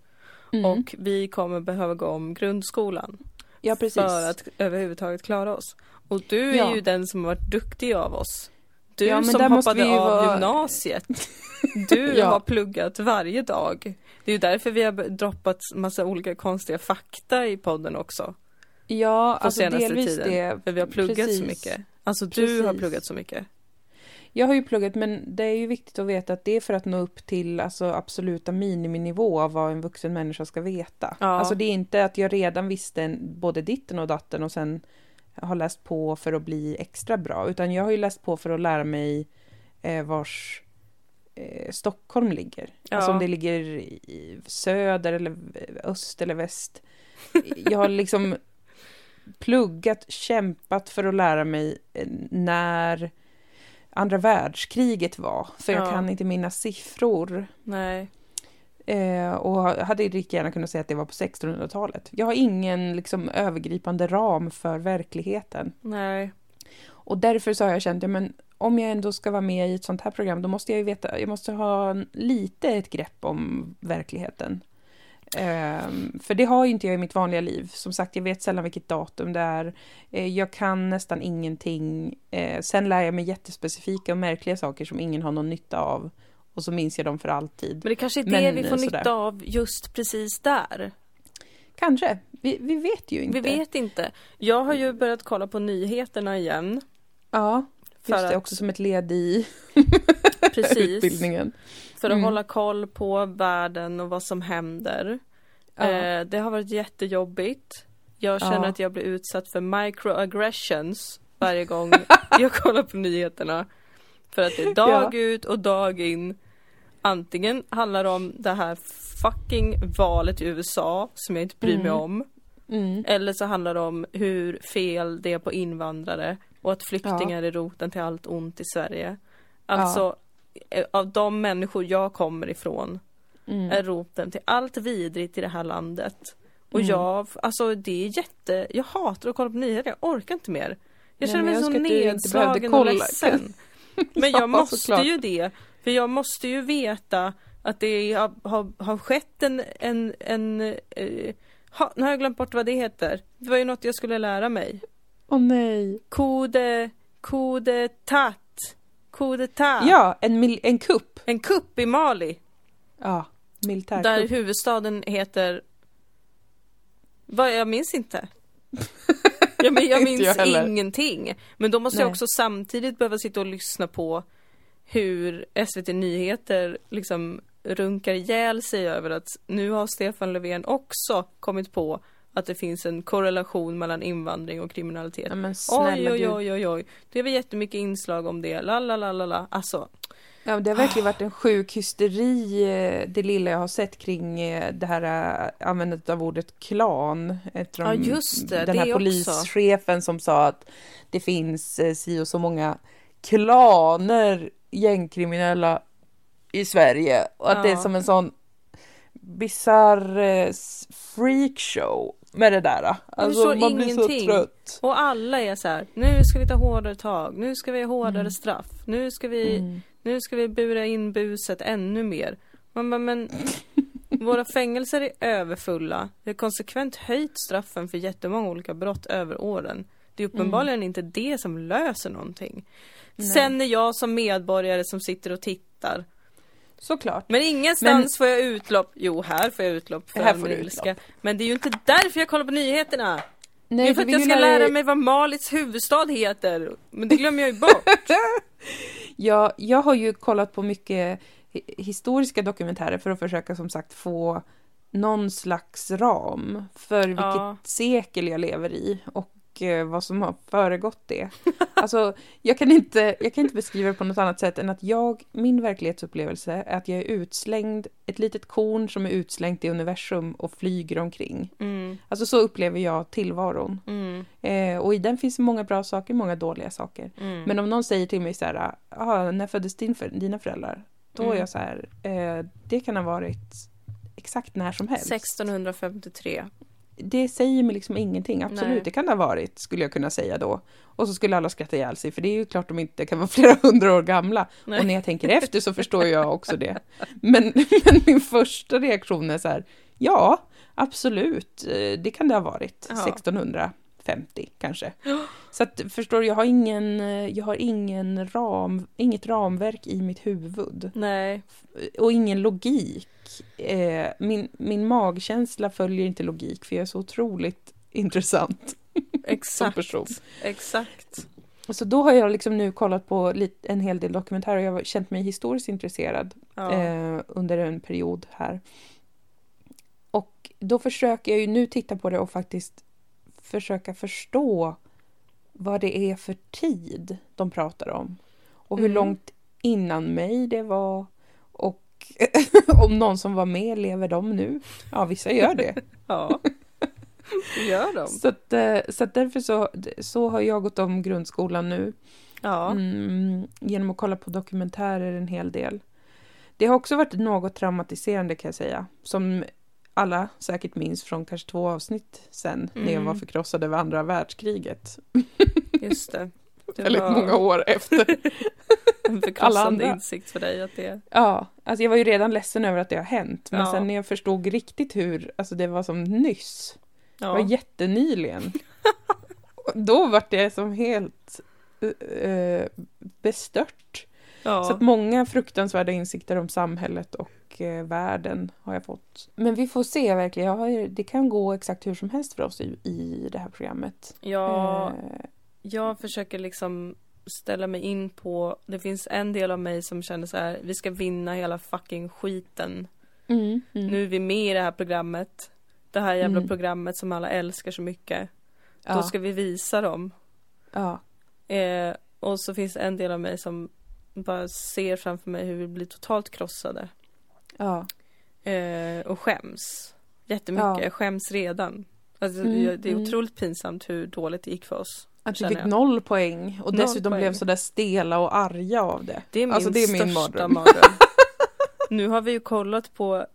[SPEAKER 1] Mm.
[SPEAKER 2] och vi kommer behöva gå om grundskolan
[SPEAKER 1] ja, precis.
[SPEAKER 2] för att överhuvudtaget klara oss. Och du är
[SPEAKER 1] Ja.
[SPEAKER 2] ju den som har varit duktig av oss. Du
[SPEAKER 1] Ja, men
[SPEAKER 2] som
[SPEAKER 1] där måste
[SPEAKER 2] hoppade
[SPEAKER 1] vi ju
[SPEAKER 2] av
[SPEAKER 1] vara-
[SPEAKER 2] gymnasiet.
[SPEAKER 1] [LAUGHS]
[SPEAKER 2] Du
[SPEAKER 1] Ja.
[SPEAKER 2] har pluggat varje dag. Det är ju därför vi har b- droppat massa olika konstiga fakta i podden också.
[SPEAKER 1] ja,
[SPEAKER 2] på
[SPEAKER 1] alltså
[SPEAKER 2] senaste
[SPEAKER 1] delvis
[SPEAKER 2] tiden.
[SPEAKER 1] det.
[SPEAKER 2] För vi har pluggat
[SPEAKER 1] Precis.
[SPEAKER 2] så mycket. Alltså du har
[SPEAKER 1] Precis.
[SPEAKER 2] pluggat så mycket.
[SPEAKER 1] Jag har ju pluggat, men det är ju viktigt att veta att det är för att nå upp till alltså, absoluta miniminivå av vad en vuxen människa ska veta.
[SPEAKER 2] Ja.
[SPEAKER 1] Alltså det är inte att jag redan visste en, både ditten och datten och sen har läst på för att bli extra bra, utan jag har ju läst på för att lära mig eh, vars eh, Stockholm ligger.
[SPEAKER 2] Ja.
[SPEAKER 1] Alltså om det ligger i söder eller eh, öst eller väst. Jag har liksom pluggat, kämpat för att lära mig eh, när andra världskriget var, för jag
[SPEAKER 2] Ja.
[SPEAKER 1] kan inte minnas siffror.
[SPEAKER 2] Nej.
[SPEAKER 1] Eh, och hade lika gärna kunnat säga att det var på 1600-talet. Jag har ingen liksom, övergripande ram för verkligheten.
[SPEAKER 2] Nej.
[SPEAKER 1] Och därför så har jag känt, ja, men om jag ändå ska vara med i ett sånt här program, då måste jag ju veta, jag måste ha en- lite ett grepp om verkligheten. Ehm, för det har ju inte jag i mitt vanliga liv. Som sagt, jag vet sällan vilket datum det är. Eh, jag kan nästan ingenting. Eh, sen lär jag mig jättespecifika och märkliga saker som ingen har någon nytta av. Och så minns jag dem för alltid.
[SPEAKER 2] Men det kanske är det
[SPEAKER 1] Men,
[SPEAKER 2] vi får
[SPEAKER 1] eh, sådär.
[SPEAKER 2] nytta av just precis där.
[SPEAKER 1] Kanske. Vi, vi vet ju inte.
[SPEAKER 2] Vi vet inte. Jag har ju börjat kolla på nyheterna igen.
[SPEAKER 1] Ja,
[SPEAKER 2] För
[SPEAKER 1] just det.
[SPEAKER 2] att-
[SPEAKER 1] Också [LAUGHS] som ett led i
[SPEAKER 2] Precis.
[SPEAKER 1] [LAUGHS] utbildningen.
[SPEAKER 2] För att
[SPEAKER 1] Mm.
[SPEAKER 2] hålla koll på världen och vad som händer.
[SPEAKER 1] Ja.
[SPEAKER 2] Eh, det har varit jättejobbigt. Jag känner
[SPEAKER 1] Ja.
[SPEAKER 2] att jag blir utsatt för microaggressions
[SPEAKER 1] [LAUGHS]
[SPEAKER 2] varje gång jag kollar på nyheterna. För att det är dag ut och dag in. Antingen handlar det om det här fucking valet i USA som jag inte bryr mig
[SPEAKER 1] Mm.
[SPEAKER 2] om.
[SPEAKER 1] Mm.
[SPEAKER 2] Eller så handlar det om hur fel det är på invandrare och att flyktingar är roten till allt ont i Sverige. Alltså, eh, av de människor jag kommer ifrån
[SPEAKER 1] Mm.
[SPEAKER 2] är roten till allt vidrigt i det här landet. Och
[SPEAKER 1] Mm.
[SPEAKER 2] jag, alltså det är jätte, jag hatar att kolla på nyheter, jag orkar inte mer. Jag
[SPEAKER 1] Nej,
[SPEAKER 2] känner
[SPEAKER 1] men
[SPEAKER 2] mig
[SPEAKER 1] jag
[SPEAKER 2] så
[SPEAKER 1] önskar att du inte
[SPEAKER 2] nedslagen
[SPEAKER 1] behövde
[SPEAKER 2] och
[SPEAKER 1] kolla. [LAUGHS]
[SPEAKER 2] ledsen. Men
[SPEAKER 1] Ja,
[SPEAKER 2] jag måste
[SPEAKER 1] såklart.
[SPEAKER 2] ju det, för jag måste ju veta att det har, har, har skett en, en, en eh, ha, nu har jag glömt bort vad det heter. Det var ju något jag skulle lära mig.
[SPEAKER 1] Åh nej.
[SPEAKER 2] Kode, kodetat, kodetat.
[SPEAKER 1] Ja, en, mil- en kupp.
[SPEAKER 2] En kupp i Mali.
[SPEAKER 1] Ja,
[SPEAKER 2] Där
[SPEAKER 1] militärkupp.
[SPEAKER 2] huvudstaden heter... Vad, jag minns inte. Jag, men, jag
[SPEAKER 1] [LAUGHS] Inte
[SPEAKER 2] minns
[SPEAKER 1] jag heller.
[SPEAKER 2] ingenting. Men då måste jag
[SPEAKER 1] Nej.
[SPEAKER 2] också samtidigt behöva sitta och lyssna på hur SVT Nyheter liksom runkar ihjäl sig över att nu har Stefan Löfven också kommit på att det finns en korrelation mellan invandring och kriminalitet.
[SPEAKER 1] Ja, men
[SPEAKER 2] Oj,
[SPEAKER 1] snälla
[SPEAKER 2] oj,
[SPEAKER 1] gud.
[SPEAKER 2] oj, oj, oj. Det var jättemycket inslag om det. La, la, la, la, la. Alltså,
[SPEAKER 1] Ja, men det har verkligen varit en sjuk hysteri, eh, det lilla jag har sett kring eh, det här eh, användandet av ordet klan. Efter
[SPEAKER 2] Ja,
[SPEAKER 1] de-
[SPEAKER 2] just det,
[SPEAKER 1] Den
[SPEAKER 2] det
[SPEAKER 1] här
[SPEAKER 2] också.
[SPEAKER 1] polischefen som sa att det finns eh, si och så många klaner gängkriminella i Sverige. Och att det är
[SPEAKER 2] Ja.
[SPEAKER 1] som en sån bisarr eh, s- freakshow med det där. Alltså,
[SPEAKER 2] förstår
[SPEAKER 1] man blir
[SPEAKER 2] ingenting.
[SPEAKER 1] så trött.
[SPEAKER 2] Och alla är så här, nu ska vi ta hårdare tag, nu ska vi ha hårdare
[SPEAKER 1] Mm.
[SPEAKER 2] straff, nu ska vi, nu ska vi bura in buset ännu mer. Man bara,
[SPEAKER 1] [LAUGHS]
[SPEAKER 2] men våra fängelser är överfulla. Vi har konsekvent höjt straffen för jättemånga olika brott över åren. Det
[SPEAKER 1] Mm.
[SPEAKER 2] är uppenbarligen inte det som löser någonting. Sen är jag som medborgare som sitter och tittar.
[SPEAKER 1] Såklart.
[SPEAKER 2] Men ingenstans får jag utlopp. Jo, här får jag utlopp för
[SPEAKER 1] Här
[SPEAKER 2] all
[SPEAKER 1] får
[SPEAKER 2] min
[SPEAKER 1] du
[SPEAKER 2] ilska. Men det är ju inte därför jag kollar på nyheterna.
[SPEAKER 1] Nej,
[SPEAKER 2] Det är för att
[SPEAKER 1] du
[SPEAKER 2] jag
[SPEAKER 1] vill
[SPEAKER 2] ska
[SPEAKER 1] ju
[SPEAKER 2] lära
[SPEAKER 1] dig-
[SPEAKER 2] mig vad Malis huvudstad heter. Men det glömmer jag ju bort.
[SPEAKER 1] Jag, jag har ju kollat på mycket hi- historiska dokumentärer för att försöka som sagt få någon slags ram för vilket
[SPEAKER 2] Ja.
[SPEAKER 1] sekel jag lever i och eh, vad som har föregått
[SPEAKER 2] [LAUGHS]
[SPEAKER 1] det. Alltså, jag kan, inte, jag kan inte beskriva det på något annat sätt än att jag, min verklighetsupplevelse är att jag är utslängd, ett litet korn som är utslängt i universum och flyger omkring.
[SPEAKER 2] [LAUGHS] Mm.
[SPEAKER 1] Alltså så upplever jag tillvaron.
[SPEAKER 2] Mm.
[SPEAKER 1] Eh, och i den finns många bra saker, många dåliga saker.
[SPEAKER 2] Mm.
[SPEAKER 1] Men om någon säger till mig så här, ah, när föddes din för- dina föräldrar? Då är
[SPEAKER 2] Mm.
[SPEAKER 1] jag så här, eh, det kan ha varit exakt när som helst.
[SPEAKER 2] 1653.
[SPEAKER 1] Det säger mig liksom ingenting, absolut,
[SPEAKER 2] Nej.
[SPEAKER 1] det kan det ha varit, skulle jag kunna säga då. Och så skulle alla skratta ihjäl sig, för det är ju klart de inte kan vara [LAUGHS] flera hundra år gamla.
[SPEAKER 2] Nej.
[SPEAKER 1] Och när jag tänker efter så förstår jag också det. Men, men min första reaktion är så här, ja, absolut, eh, det kan det ha varit.
[SPEAKER 2] Ja.
[SPEAKER 1] 1650 kanske. Så att, förstår du, jag har, ingen, eh, jag har ingen ram, inget ramverk i mitt huvud.
[SPEAKER 2] Nej.
[SPEAKER 1] Och ingen logik. Eh, Min, min magkänsla följer inte logik, för jag är så otroligt intressant [LAUGHS] som
[SPEAKER 2] Exakt.
[SPEAKER 1] person.
[SPEAKER 2] Exakt.
[SPEAKER 1] Så då har jag liksom nu kollat på lit- en hel del dokumentärer och jag har känt mig historiskt intresserad
[SPEAKER 2] Ja.
[SPEAKER 1] eh, under en period här. Och då försöker jag ju nu titta på det och faktiskt försöka förstå vad det är för tid de pratar om. Och hur
[SPEAKER 2] Mm.
[SPEAKER 1] långt innan mig det var. Och [LAUGHS] om någon som var med, lever de nu? Ja, vissa gör det.
[SPEAKER 2] ja. Det gör de.
[SPEAKER 1] [LAUGHS] så att, eh, så att därför så, så har jag gått om grundskolan nu.
[SPEAKER 2] Ja.
[SPEAKER 1] Mm, genom att kolla på dokumentärer en hel del. Det har också varit något traumatiserande kan jag säga. Som alla säkert minns från kanske två avsnitt sen när jag
[SPEAKER 2] Mm.
[SPEAKER 1] var förkrossad över andra världskriget.
[SPEAKER 2] Just det. Det
[SPEAKER 1] Väldigt
[SPEAKER 2] var
[SPEAKER 1] många år
[SPEAKER 2] [LAUGHS]
[SPEAKER 1] efter.
[SPEAKER 2] en
[SPEAKER 1] Alla
[SPEAKER 2] förkrossande
[SPEAKER 1] andra.
[SPEAKER 2] insikt för dig att det
[SPEAKER 1] ja, alltså jag var ju redan ledsen över att det har hänt. Men
[SPEAKER 2] Ja.
[SPEAKER 1] sen när jag förstod riktigt hur, alltså det var som nyss. Det var
[SPEAKER 2] ja. [LAUGHS]
[SPEAKER 1] jättenyligen. Och Då var det som helt eh, eh, bestört. Så
[SPEAKER 2] ja.
[SPEAKER 1] att många fruktansvärda insikter om samhället och eh, världen har jag fått. Men vi får se verkligen. Jag har, ju- det kan gå exakt hur som helst för oss i, i det här programmet.
[SPEAKER 2] ja.
[SPEAKER 1] Eh,
[SPEAKER 2] Jag försöker liksom ställa mig in på, det finns en del av mig som känner så här, vi ska vinna hela fucking skiten.
[SPEAKER 1] mm, mm.
[SPEAKER 2] Nu är vi med i det här programmet. Det här jävla
[SPEAKER 1] Mm.
[SPEAKER 2] programmet som alla älskar så mycket.
[SPEAKER 1] ja.
[SPEAKER 2] Då ska vi visa dem.
[SPEAKER 1] ja.
[SPEAKER 2] Eh, och så finns det en del av mig som bara ser framför mig hur vi blir totalt krossade.
[SPEAKER 1] Ja.
[SPEAKER 2] Eh, och skäms. Jättemycket,
[SPEAKER 1] Ja.
[SPEAKER 2] jag skäms redan. Alltså,
[SPEAKER 1] Mm,
[SPEAKER 2] jag, det är
[SPEAKER 1] mm.
[SPEAKER 2] otroligt pinsamt hur dåligt det gick för oss.
[SPEAKER 1] Att vi
[SPEAKER 2] Känner
[SPEAKER 1] fick
[SPEAKER 2] jag.
[SPEAKER 1] noll poäng och
[SPEAKER 2] Noll
[SPEAKER 1] dessutom
[SPEAKER 2] poäng.
[SPEAKER 1] blev sådär stela och arga av det.
[SPEAKER 2] Det är min
[SPEAKER 1] Alltså, det är min
[SPEAKER 2] största
[SPEAKER 1] mardröm.
[SPEAKER 2] mardröm. [LAUGHS] nu har vi ju kollat på,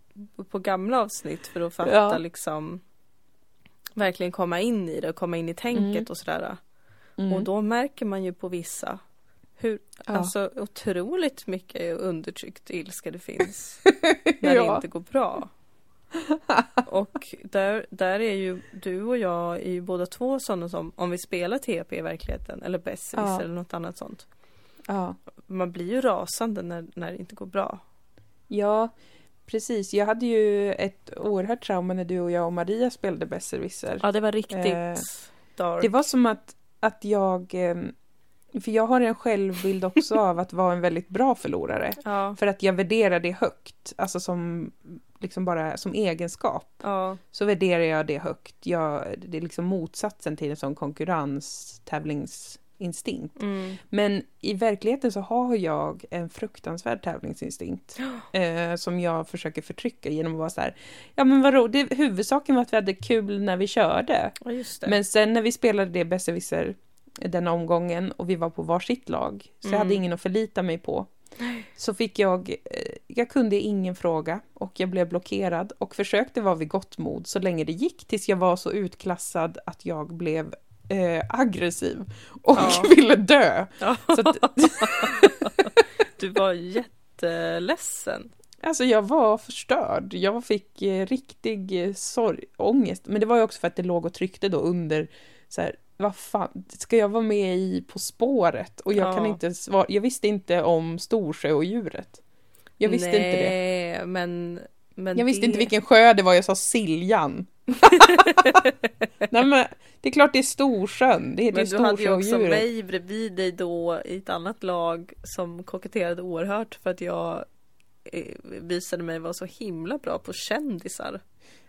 [SPEAKER 2] på gamla avsnitt för att fatta
[SPEAKER 1] Ja.
[SPEAKER 2] liksom verkligen komma in i det och komma in i tänket
[SPEAKER 1] Mm.
[SPEAKER 2] och sådär.
[SPEAKER 1] Mm.
[SPEAKER 2] Och då märker man ju på vissa hur
[SPEAKER 1] ja.
[SPEAKER 2] alltså, otroligt mycket undertryckt ilska det finns
[SPEAKER 1] [LAUGHS]
[SPEAKER 2] när det
[SPEAKER 1] ja.
[SPEAKER 2] inte går
[SPEAKER 1] [LAUGHS]
[SPEAKER 2] bra. Och där, där är ju du och jag är ju båda två sådana som om vi spelar TP i verkligheten eller Besserwisser
[SPEAKER 1] Ja.
[SPEAKER 2] eller något annat sånt.
[SPEAKER 1] Ja.
[SPEAKER 2] Man blir ju rasande när, när det inte går bra.
[SPEAKER 1] ja, precis. Jag hade ju ett oerhört trauma när du och jag och Maria spelade besserwisser.
[SPEAKER 2] Ja det var riktigt
[SPEAKER 1] Eh,
[SPEAKER 2] dark.
[SPEAKER 1] Det var som att, att jag... ehm, För jag har en självbild också av att vara en väldigt bra förlorare.
[SPEAKER 2] ja,
[SPEAKER 1] För att jag värderar det högt, alltså som, liksom bara, som egenskap.
[SPEAKER 2] ja,
[SPEAKER 1] Så värderar jag det högt. Jag, det är liksom motsatsen till en sån konkurrens, tävlingsinstinkt.
[SPEAKER 2] mm,
[SPEAKER 1] Men i verkligheten så har jag en fruktansvärd tävlingsinstinkt. Eh, som jag försöker förtrycka genom att vara så här, ja men vadå, det, huvudsaken var att vi hade kul när vi körde.
[SPEAKER 2] ja just det.
[SPEAKER 1] Men sen när vi spelade det besserwisser den omgången och vi var på varsitt lag, så jag
[SPEAKER 2] Mm.
[SPEAKER 1] hade ingen att förlita mig på. Så fick jag, eh, jag kunde ingen fråga och jag blev blockerad och försökte vara vid gott mod så länge det gick tills jag var så utklassad att jag blev eh, aggressiv och
[SPEAKER 2] Ja.
[SPEAKER 1] [LAUGHS] ville dö.
[SPEAKER 2] Ja. [LAUGHS]
[SPEAKER 1] Så att,
[SPEAKER 2] Du var jätteledsen.
[SPEAKER 1] alltså jag var förstörd, jag fick eh, riktig eh, sorg, ångest. Men det var ju också för att det låg och tryckte då under så här, vad fan, ska jag vara med i På spåret? Och jag
[SPEAKER 2] Ja.
[SPEAKER 1] kan inte svara, jag visste inte om storsjöodjuret. Jag visste
[SPEAKER 2] Nej,
[SPEAKER 1] inte det.
[SPEAKER 2] men, men
[SPEAKER 1] Jag visste
[SPEAKER 2] det...
[SPEAKER 1] inte vilken sjö det var, jag
[SPEAKER 2] [LAUGHS]
[SPEAKER 1] sa Siljan. Nej men, det är klart det är Storsjön, det heter
[SPEAKER 2] Men
[SPEAKER 1] ju
[SPEAKER 2] du hade ju också
[SPEAKER 1] Storsjöodjuret.
[SPEAKER 2] mig bredvid dig då i ett annat lag som koketterade oerhört för att jag eh, visade mig vara så himla bra på kändisar.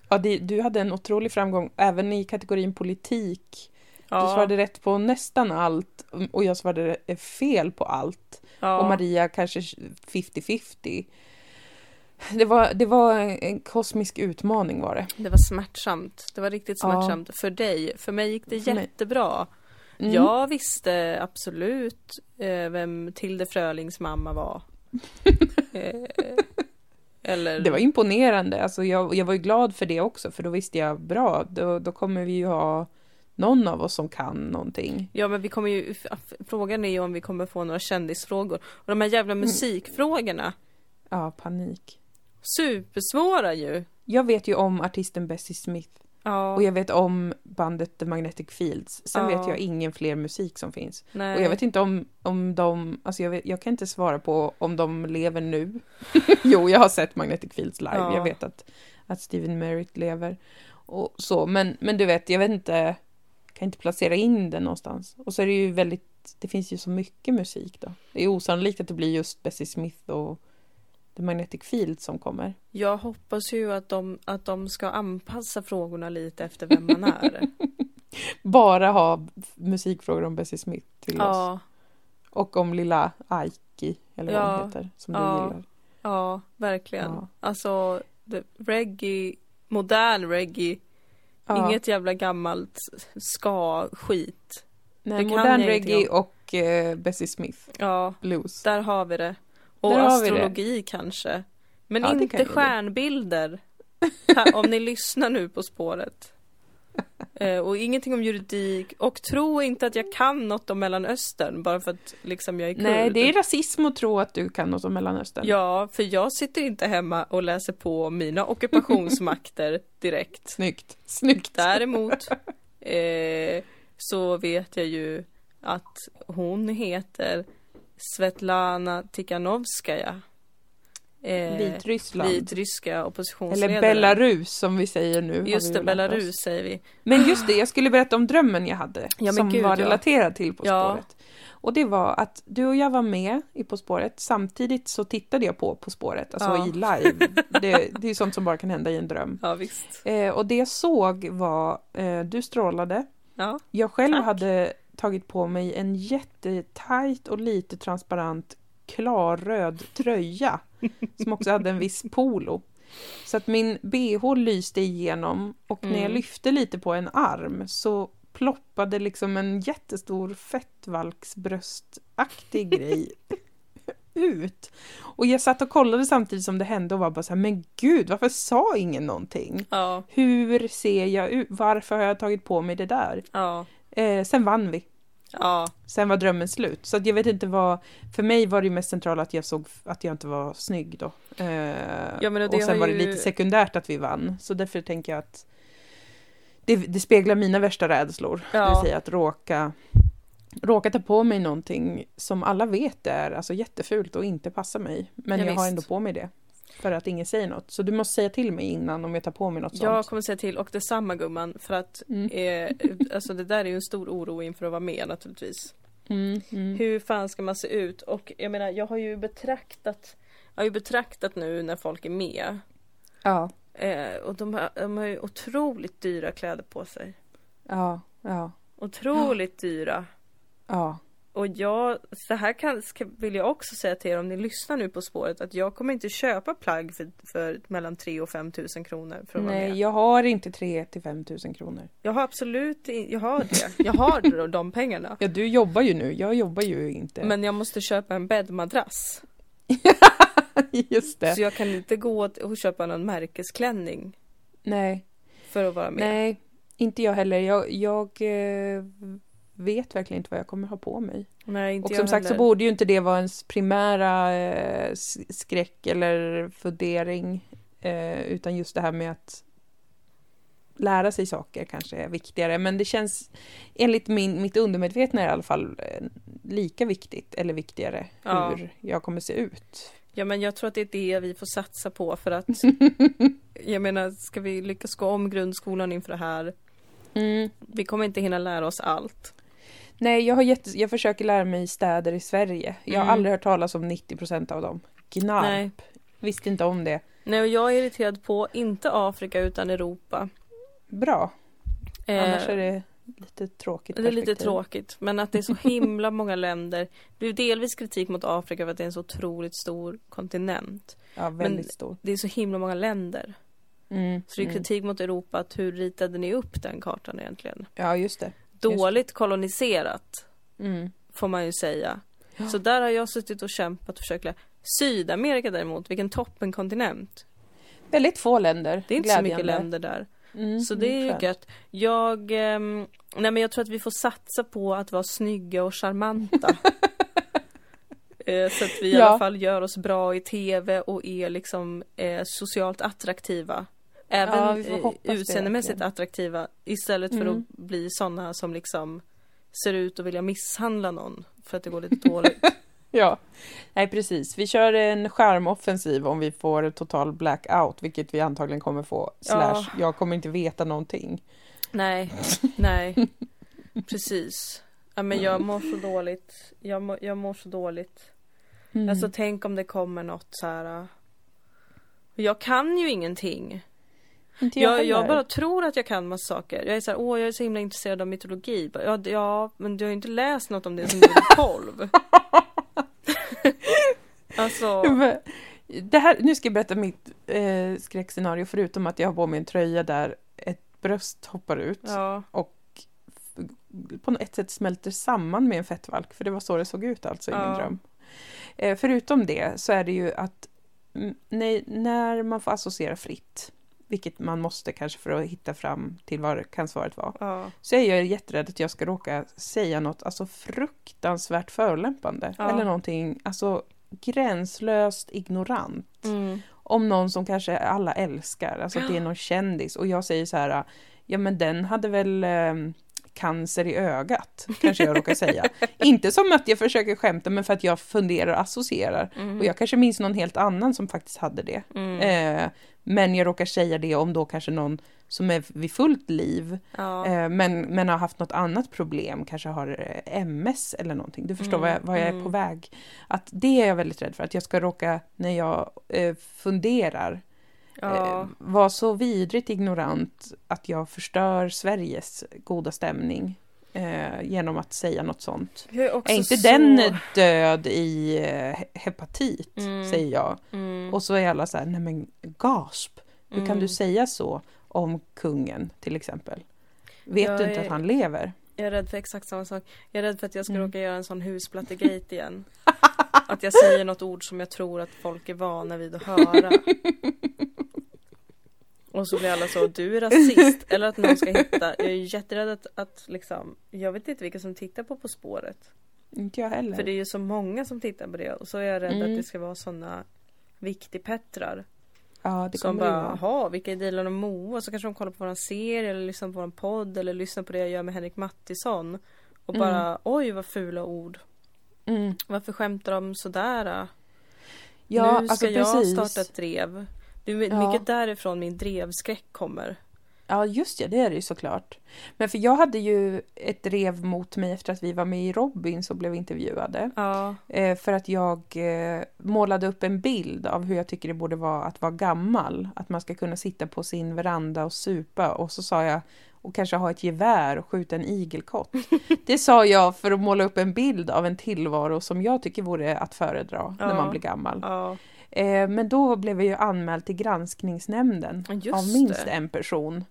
[SPEAKER 1] Ja, det, du hade en otrolig framgång även i kategorin politik. Du svarade rätt på nästan allt mm, och jag svarade re- fel på allt.
[SPEAKER 2] ja.
[SPEAKER 1] Och Maria kanske 50-50. Det var, det var en, en kosmisk utmaning var det.
[SPEAKER 2] Det var smärtsamt. Det var riktigt
[SPEAKER 1] Ja.
[SPEAKER 2] smärtsamt för dig. För mig gick det
[SPEAKER 1] För mig.
[SPEAKER 2] jättebra.
[SPEAKER 1] Mm.
[SPEAKER 2] Jag visste absolut eh, vem Tilde Frölings mamma
[SPEAKER 1] [LAUGHS]
[SPEAKER 2] var. eh, eller...
[SPEAKER 1] Det var imponerande. Alltså jag, jag var ju glad för det också, för då visste jag bra, då, då kommer vi ju ha någon av oss som kan någonting.
[SPEAKER 2] Ja men vi kommer ju, f- frågan är ju om vi kommer få några kändisfrågor. Och de här
[SPEAKER 1] Mm.
[SPEAKER 2] jävla musikfrågorna,
[SPEAKER 1] Ja, panik.
[SPEAKER 2] supersvåra ju.
[SPEAKER 1] Jag vet ju om artisten Bessie Smith
[SPEAKER 2] Ja,
[SPEAKER 1] och jag vet om bandet The Magnetic Fields. Sen
[SPEAKER 2] Ja.
[SPEAKER 1] vet jag ingen fler musik som finns.
[SPEAKER 2] nej.
[SPEAKER 1] Och jag vet inte om, om de, alltså jag, vet, jag kan inte svara på om de lever nu. [LAUGHS] jo, jag har sett Magnetic Fields live,
[SPEAKER 2] Ja.
[SPEAKER 1] jag vet att, att Steven Merritt lever. Och så, men, men du vet, jag vet inte, kan inte placera in den någonstans. Och så är det ju väldigt, det finns ju så mycket musik då. Det är osannolikt att det blir just Bessie Smith och The Magnetic Fields som kommer.
[SPEAKER 2] Jag hoppas ju att de, att de ska anpassa frågorna lite efter vem man
[SPEAKER 1] [LAUGHS]
[SPEAKER 2] är.
[SPEAKER 1] Bara ha musikfrågor om Bessie Smith till oss.
[SPEAKER 2] ja,
[SPEAKER 1] Och om lilla Aiki, eller vad
[SPEAKER 2] Ja.
[SPEAKER 1] hon heter, som du
[SPEAKER 2] Ja.
[SPEAKER 1] gillar.
[SPEAKER 2] ja, verkligen.
[SPEAKER 1] Ja.
[SPEAKER 2] Alltså, det, reggae, modern reggae,
[SPEAKER 1] Ja.
[SPEAKER 2] inget jävla gammalt ska-skit.
[SPEAKER 1] Nej,
[SPEAKER 2] Det kan jag
[SPEAKER 1] modern
[SPEAKER 2] ingenting
[SPEAKER 1] reggae och eh, Bessie Smith
[SPEAKER 2] Ja,
[SPEAKER 1] blues.
[SPEAKER 2] där har vi det. Och
[SPEAKER 1] Där har vi det.
[SPEAKER 2] astrologi kanske. Men
[SPEAKER 1] Ja, det kan
[SPEAKER 2] inte
[SPEAKER 1] ju det.
[SPEAKER 2] stjärnbilder. Ta- om ni lyssnar nu på
[SPEAKER 1] [LAUGHS]
[SPEAKER 2] spåret. Eh, och ingenting om juridik. Och tro inte att jag kan något om Mellanöstern bara för att liksom jag är kurd.
[SPEAKER 1] Nej, det är rasism att tro att du kan något om Mellanöstern.
[SPEAKER 2] Ja, för jag sitter inte hemma och läser på om mina
[SPEAKER 1] [LAUGHS]
[SPEAKER 2] ockupationsmakter direkt.
[SPEAKER 1] Snyggt, snyggt.
[SPEAKER 2] Däremot eh, så vet jag ju att hon heter Svetlana Tikhanovskaja. Eh,
[SPEAKER 1] Vitryssland.
[SPEAKER 2] Vitryska oppositionsledaren.
[SPEAKER 1] Eller Belarus som vi säger nu. har vi
[SPEAKER 2] Just
[SPEAKER 1] ju
[SPEAKER 2] det,
[SPEAKER 1] lärt oss.
[SPEAKER 2] Belarus säger vi.
[SPEAKER 1] Men just det, jag skulle berätta om drömmen jag hade.
[SPEAKER 2] men
[SPEAKER 1] som
[SPEAKER 2] gud,
[SPEAKER 1] var
[SPEAKER 2] ja.
[SPEAKER 1] relaterad till På
[SPEAKER 2] Ja.
[SPEAKER 1] spåret. Och det var att du och jag var med i På spåret. Samtidigt så tittade jag på På spåret, alltså
[SPEAKER 2] Ja.
[SPEAKER 1] i live. Det, det är ju sånt som bara kan hända i en dröm.
[SPEAKER 2] Ja, visst.
[SPEAKER 1] Eh, och det jag såg var, eh, du strålade,
[SPEAKER 2] Ja,
[SPEAKER 1] Jag själv
[SPEAKER 2] Tack.
[SPEAKER 1] hade tagit på mig en jättetajt och lite transparent klarröd
[SPEAKER 2] [LAUGHS]
[SPEAKER 1] tröja som också hade en viss polo. Så att min bh lyste igenom och när jag
[SPEAKER 2] Mm.
[SPEAKER 1] lyfte lite på en arm så ploppade liksom en jättestor
[SPEAKER 2] [LAUGHS]
[SPEAKER 1] fettvalksbröstaktig grej ut. Och jag satt och kollade samtidigt som det hände och var bara så här, men gud, varför sa ingen någonting?
[SPEAKER 2] ja,
[SPEAKER 1] Hur ser jag ut? Varför har jag tagit på mig det där?
[SPEAKER 2] ja,
[SPEAKER 1] Eh, sen vann vi.
[SPEAKER 2] ja.
[SPEAKER 1] Sen var drömmen slut. Så att jag vet inte vad... För mig var det ju mest centrala att jag såg att jag inte var snygg då. Eh,
[SPEAKER 2] Ja, men det
[SPEAKER 1] och sen
[SPEAKER 2] har
[SPEAKER 1] var det
[SPEAKER 2] ju-
[SPEAKER 1] lite sekundärt att vi vann. Så därför tänker jag att det, det speglar mina värsta rädslor. Det vill
[SPEAKER 2] Ja.
[SPEAKER 1] säga att råka, råka ta på mig någonting som alla vet är alltså, jättefult och inte passar mig. Men
[SPEAKER 2] Ja,
[SPEAKER 1] jag har
[SPEAKER 2] visst.
[SPEAKER 1] ändå på mig det. För att ingen säger något. Så du måste säga till mig innan om jag tar på mig något
[SPEAKER 2] Jag
[SPEAKER 1] sånt.
[SPEAKER 2] kommer säga till och detsamma gumman för att
[SPEAKER 1] Mm.
[SPEAKER 2] eh, alltså det där är ju en stor oro inför att vara med naturligtvis.
[SPEAKER 1] Mm, mm.
[SPEAKER 2] Hur fan ska man se ut? Och jag menar, jag har ju betraktat Jag har ju betraktat nu när folk är med
[SPEAKER 1] Ja,
[SPEAKER 2] eh, Och de har, de har ju otroligt dyra kläder på sig
[SPEAKER 1] ja, ja,
[SPEAKER 2] Otroligt dyra
[SPEAKER 1] ja.
[SPEAKER 2] Och jag, så här kan, ska, vill jag också säga till er om ni lyssnar nu på spåret Att jag kommer inte köpa plagg för, för mellan 3 och 5 tusen kronor för att vara
[SPEAKER 1] Nej,
[SPEAKER 2] med
[SPEAKER 1] jag har inte 3 till 5 000 kronor.
[SPEAKER 2] Jag har absolut, in- jag har det Jag har de- de
[SPEAKER 1] [LAUGHS]
[SPEAKER 2] pengarna
[SPEAKER 1] Ja, du jobbar ju nu. Jag jobbar ju inte.
[SPEAKER 2] Men jag måste köpa en bäddmadrass
[SPEAKER 1] [LAUGHS] Just det.
[SPEAKER 2] Så jag kan inte gå och- och köpa någon märkesklänning
[SPEAKER 1] Nej,
[SPEAKER 2] för att vara med
[SPEAKER 1] nej, inte jag heller. Jag, jag eh, vet verkligen inte vad jag kommer ha på mig.
[SPEAKER 2] Nej, inte
[SPEAKER 1] Och
[SPEAKER 2] jag
[SPEAKER 1] som sagt så
[SPEAKER 2] heller.
[SPEAKER 1] borde ju inte det vara ens primära eh, s- skräck eller fundering. Eh, utan just det här med att lära sig saker kanske är viktigare. Men det känns enligt min, mitt undermedvetna i alla fall eh, lika viktigt eller viktigare
[SPEAKER 2] Ja.
[SPEAKER 1] hur jag kommer se ut.
[SPEAKER 2] Ja, men jag tror att det är det vi får satsa på för att
[SPEAKER 1] [LAUGHS]
[SPEAKER 2] jag menar, ska vi lyckas gå om grundskolan inför det här?
[SPEAKER 1] Mm.
[SPEAKER 2] Vi kommer inte hinna lära oss allt.
[SPEAKER 1] Nej, jag, har jätte... jag försöker lära mig städer i Sverige. Jag har
[SPEAKER 2] Mm.
[SPEAKER 1] aldrig hört talas om 90 procent av dem. Gnarp,
[SPEAKER 2] Nej.
[SPEAKER 1] visste inte om det.
[SPEAKER 2] Nej, och jag är irriterad på, inte Afrika utan Europa.
[SPEAKER 1] Bra,
[SPEAKER 2] Eh,
[SPEAKER 1] annars är det lite tråkigt
[SPEAKER 2] Det är lite
[SPEAKER 1] perspektiv.
[SPEAKER 2] tråkigt, men att det är så
[SPEAKER 1] [LAUGHS]
[SPEAKER 2] himla många länder. Det blir delvis kritik mot Afrika för att det är en så otroligt stor kontinent.
[SPEAKER 1] Ja, väldigt stor.
[SPEAKER 2] Det är så himla många länder.
[SPEAKER 1] Mm,
[SPEAKER 2] Så det är
[SPEAKER 1] mm.
[SPEAKER 2] kritik mot Europa, att hur ritade ni upp den kartan egentligen?
[SPEAKER 1] Ja, just det.
[SPEAKER 2] Dåligt koloniserat,
[SPEAKER 1] Mm.
[SPEAKER 2] får man ju säga.
[SPEAKER 1] Ja.
[SPEAKER 2] Så där har jag suttit och kämpat och försökt lära. Sydamerika däremot, vilken toppenkontinent.
[SPEAKER 1] Väldigt få länder.
[SPEAKER 2] Det är inte så mycket
[SPEAKER 1] glädjande.
[SPEAKER 2] länder där.
[SPEAKER 1] Mm,
[SPEAKER 2] Så det är ju
[SPEAKER 1] skönt.
[SPEAKER 2] gött. Jag, ehm, nej men jag tror att vi får satsa på att vara snygga och
[SPEAKER 1] [LAUGHS]
[SPEAKER 2] charmanta. Eh, Så att vi i
[SPEAKER 1] Ja.
[SPEAKER 2] alla fall gör oss bra i tv och är liksom eh, socialt attraktiva. Även
[SPEAKER 1] Ja, vi får
[SPEAKER 2] eh,
[SPEAKER 1] hoppas det
[SPEAKER 2] utseendemässigt
[SPEAKER 1] verkligen.
[SPEAKER 2] attraktiva istället för
[SPEAKER 1] Mm.
[SPEAKER 2] att bli sådana som liksom ser ut att vilja misshandla någon för att det går lite dåligt.
[SPEAKER 1] Ja, nej precis. Vi kör en skärmoffensiv om vi får total blackout, vilket vi antagligen kommer få. Slash, jag kommer inte veta någonting.
[SPEAKER 2] Nej, nej, precis. Ja, men jag mår så dåligt. Jag mår, jag mår så dåligt.
[SPEAKER 1] Mm.
[SPEAKER 2] Alltså tänk om det kommer något så här. äh. Jag kan ju ingenting.
[SPEAKER 1] inte
[SPEAKER 2] Jag, jag
[SPEAKER 1] heller.
[SPEAKER 2] bara tror att jag kan massa saker. Jag är så här, åh jag är så himla intresserad av mytologi. Bara, Ja, d- ja men du har ju inte läst något om det som du
[SPEAKER 1] [LAUGHS]
[SPEAKER 2] är 12. [LAUGHS] alltså,
[SPEAKER 1] Men, Det här, nu ska jag berätta mitt eh, skräckscenario, förutom att jag har på mig en tröja där ett bröst hoppar ut
[SPEAKER 2] ja.
[SPEAKER 1] på något ett sätt smälter samman med en fettvalk, för det var så det såg ut alltså i
[SPEAKER 2] Ja.
[SPEAKER 1] min dröm. Eh, förutom det så är det ju att mm, nej, när man får associera fritt, vilket man måste kanske för att hitta fram till vad det kan svaret vara,
[SPEAKER 2] ja.
[SPEAKER 1] så är jag jätterädd att jag ska råka säga något alltså fruktansvärt förolämpande
[SPEAKER 2] Ja.
[SPEAKER 1] eller någonting alltså gränslöst ignorant
[SPEAKER 2] Mm.
[SPEAKER 1] om någon som kanske alla älskar, alltså att det är någon kändis och jag säger så här, ja men den hade väl eh, cancer i ögat, kanske jag råkar säga. Inte som att jag försöker skämta men för att jag funderar och associerar.
[SPEAKER 2] Mm,
[SPEAKER 1] Och jag kanske minns någon helt annan som faktiskt hade det. Eh, men jag råkar säga det om då kanske någon som är vid fullt liv
[SPEAKER 2] Ja.
[SPEAKER 1] eh, men, men har haft något annat problem, kanske har eh, MS eller någonting. Du förstår
[SPEAKER 2] Mm,
[SPEAKER 1] vad jag, vad jag är
[SPEAKER 2] mm.
[SPEAKER 1] på väg. Att det är jag väldigt rädd för, att jag ska råka, när jag eh, funderar, eh,
[SPEAKER 2] ja.
[SPEAKER 1] vara så vidrigt ignorant att jag förstör Sveriges goda stämning eh, genom att säga något sånt.
[SPEAKER 2] Jag också
[SPEAKER 1] Är inte
[SPEAKER 2] så-
[SPEAKER 1] den död i eh, he- hepatit,
[SPEAKER 2] Mm.
[SPEAKER 1] säger jag.
[SPEAKER 2] Mm.
[SPEAKER 1] Och så är alla så här, nej men gasp, hur kan
[SPEAKER 2] Mm.
[SPEAKER 1] du säga så om kungen till exempel? Vet
[SPEAKER 2] Jag
[SPEAKER 1] du inte
[SPEAKER 2] är-
[SPEAKER 1] att han lever?
[SPEAKER 2] Jag är rädd för exakt samma sak. Jag är rädd för att jag ska
[SPEAKER 1] Mm.
[SPEAKER 2] råka göra en sån husplattegate
[SPEAKER 1] [LAUGHS]
[SPEAKER 2] igen. Att jag säger något ord som jag tror att folk är vana vid att höra. Och så blir alla så, du är rasist. Eller att någon ska hitta, jag är jätterädd att, att liksom, jag vet inte vilka som tittar på På spåret.
[SPEAKER 1] Inte jag heller.
[SPEAKER 2] För det är ju så många som tittar på det. Och så är jag rädd
[SPEAKER 1] Mm.
[SPEAKER 2] att det ska vara såna viktigpettrar.
[SPEAKER 1] ja, det
[SPEAKER 2] Som
[SPEAKER 1] kommer
[SPEAKER 2] bara,
[SPEAKER 1] det ju vara.
[SPEAKER 2] jaha, vilka är Dilan och Moa? Så kanske de kollar på våran serie eller lyssnar på våran podd eller lyssnar på det jag gör med Henrik Mattisson. Och bara, oj vad fula ord.
[SPEAKER 1] Mm.
[SPEAKER 2] Varför skämtar de sådär?
[SPEAKER 1] Ja,
[SPEAKER 2] nu ska
[SPEAKER 1] alltså
[SPEAKER 2] jag
[SPEAKER 1] precis.
[SPEAKER 2] starta ett drev. Det är
[SPEAKER 1] Ja.
[SPEAKER 2] mycket därifrån min drevskräck kommer.
[SPEAKER 1] Ja, just ja, det är det ju såklart. Men för jag hade ju ett rev mot mig efter att vi var med i Robin och blev intervjuade.
[SPEAKER 2] Ja,
[SPEAKER 1] Eh, för att jag eh, målade upp en bild av hur jag tycker det borde vara att vara gammal. Att man ska kunna sitta på sin veranda och supa och så sa jag och kanske ha ett gevär och skjuta
[SPEAKER 2] [LAUGHS]
[SPEAKER 1] en igelkott. Det sa jag för att måla upp en bild av en tillvaro som jag tycker vore att föredra när
[SPEAKER 2] Ja.
[SPEAKER 1] man blir gammal.
[SPEAKER 2] ja,
[SPEAKER 1] Eh, men då blev jag ju anmäld till granskningsnämnden
[SPEAKER 2] Ja, just
[SPEAKER 1] av minst
[SPEAKER 2] det.
[SPEAKER 1] en person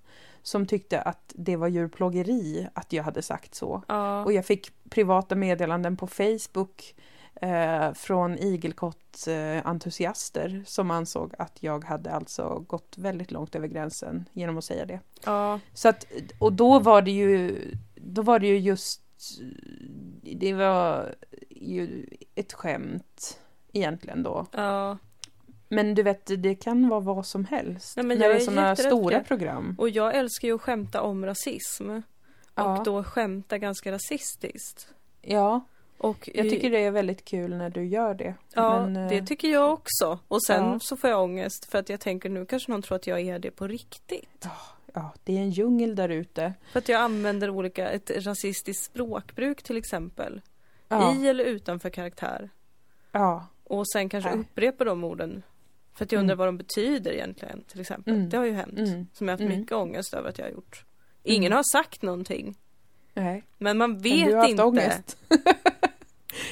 [SPEAKER 1] som tyckte att det var djurplågeri att jag hade sagt så.
[SPEAKER 2] ja.
[SPEAKER 1] Och jag fick privata meddelanden på Facebook eh, från igelkottentusiaster som ansåg att jag hade alltså gått väldigt långt över gränsen genom att säga det.
[SPEAKER 2] ja.
[SPEAKER 1] Så att, och då
[SPEAKER 2] Mm.
[SPEAKER 1] var det ju, då var det ju just, det var ju ett skämt egentligen då.
[SPEAKER 2] ja.
[SPEAKER 1] Men du vet, det kan vara vad som helst.
[SPEAKER 2] Nej, men
[SPEAKER 1] när
[SPEAKER 2] jag
[SPEAKER 1] det är
[SPEAKER 2] är
[SPEAKER 1] sådana
[SPEAKER 2] jätterädd
[SPEAKER 1] stora
[SPEAKER 2] för det.
[SPEAKER 1] program.
[SPEAKER 2] Och jag älskar ju att skämta om rasism.
[SPEAKER 1] Ja.
[SPEAKER 2] Och då skämta ganska rasistiskt.
[SPEAKER 1] Ja,
[SPEAKER 2] Och
[SPEAKER 1] jag tycker det är väldigt kul när du gör det.
[SPEAKER 2] Ja,
[SPEAKER 1] Men, eh,
[SPEAKER 2] det tycker jag också. Och sen
[SPEAKER 1] ja.
[SPEAKER 2] så får jag ångest för att jag tänker nu kanske någon tror att jag är det på riktigt.
[SPEAKER 1] ja, det är en djungel där ute.
[SPEAKER 2] För att jag använder olika, ett rasistiskt språkbruk till exempel.
[SPEAKER 1] Ja,
[SPEAKER 2] I eller utanför karaktär.
[SPEAKER 1] ja,
[SPEAKER 2] Och sen kanske
[SPEAKER 1] Nej.
[SPEAKER 2] upprepa de orden För att jag undrar
[SPEAKER 1] Mm.
[SPEAKER 2] vad de betyder egentligen till exempel.
[SPEAKER 1] Mm.
[SPEAKER 2] Det har ju hänt.
[SPEAKER 1] Mm.
[SPEAKER 2] Som jag har haft
[SPEAKER 1] Mm.
[SPEAKER 2] mycket ångest över att jag har gjort. Ingen
[SPEAKER 1] Mm.
[SPEAKER 2] har sagt någonting.
[SPEAKER 1] Nej.
[SPEAKER 2] Men man vet
[SPEAKER 1] Men du har haft
[SPEAKER 2] inte.
[SPEAKER 1] ångest.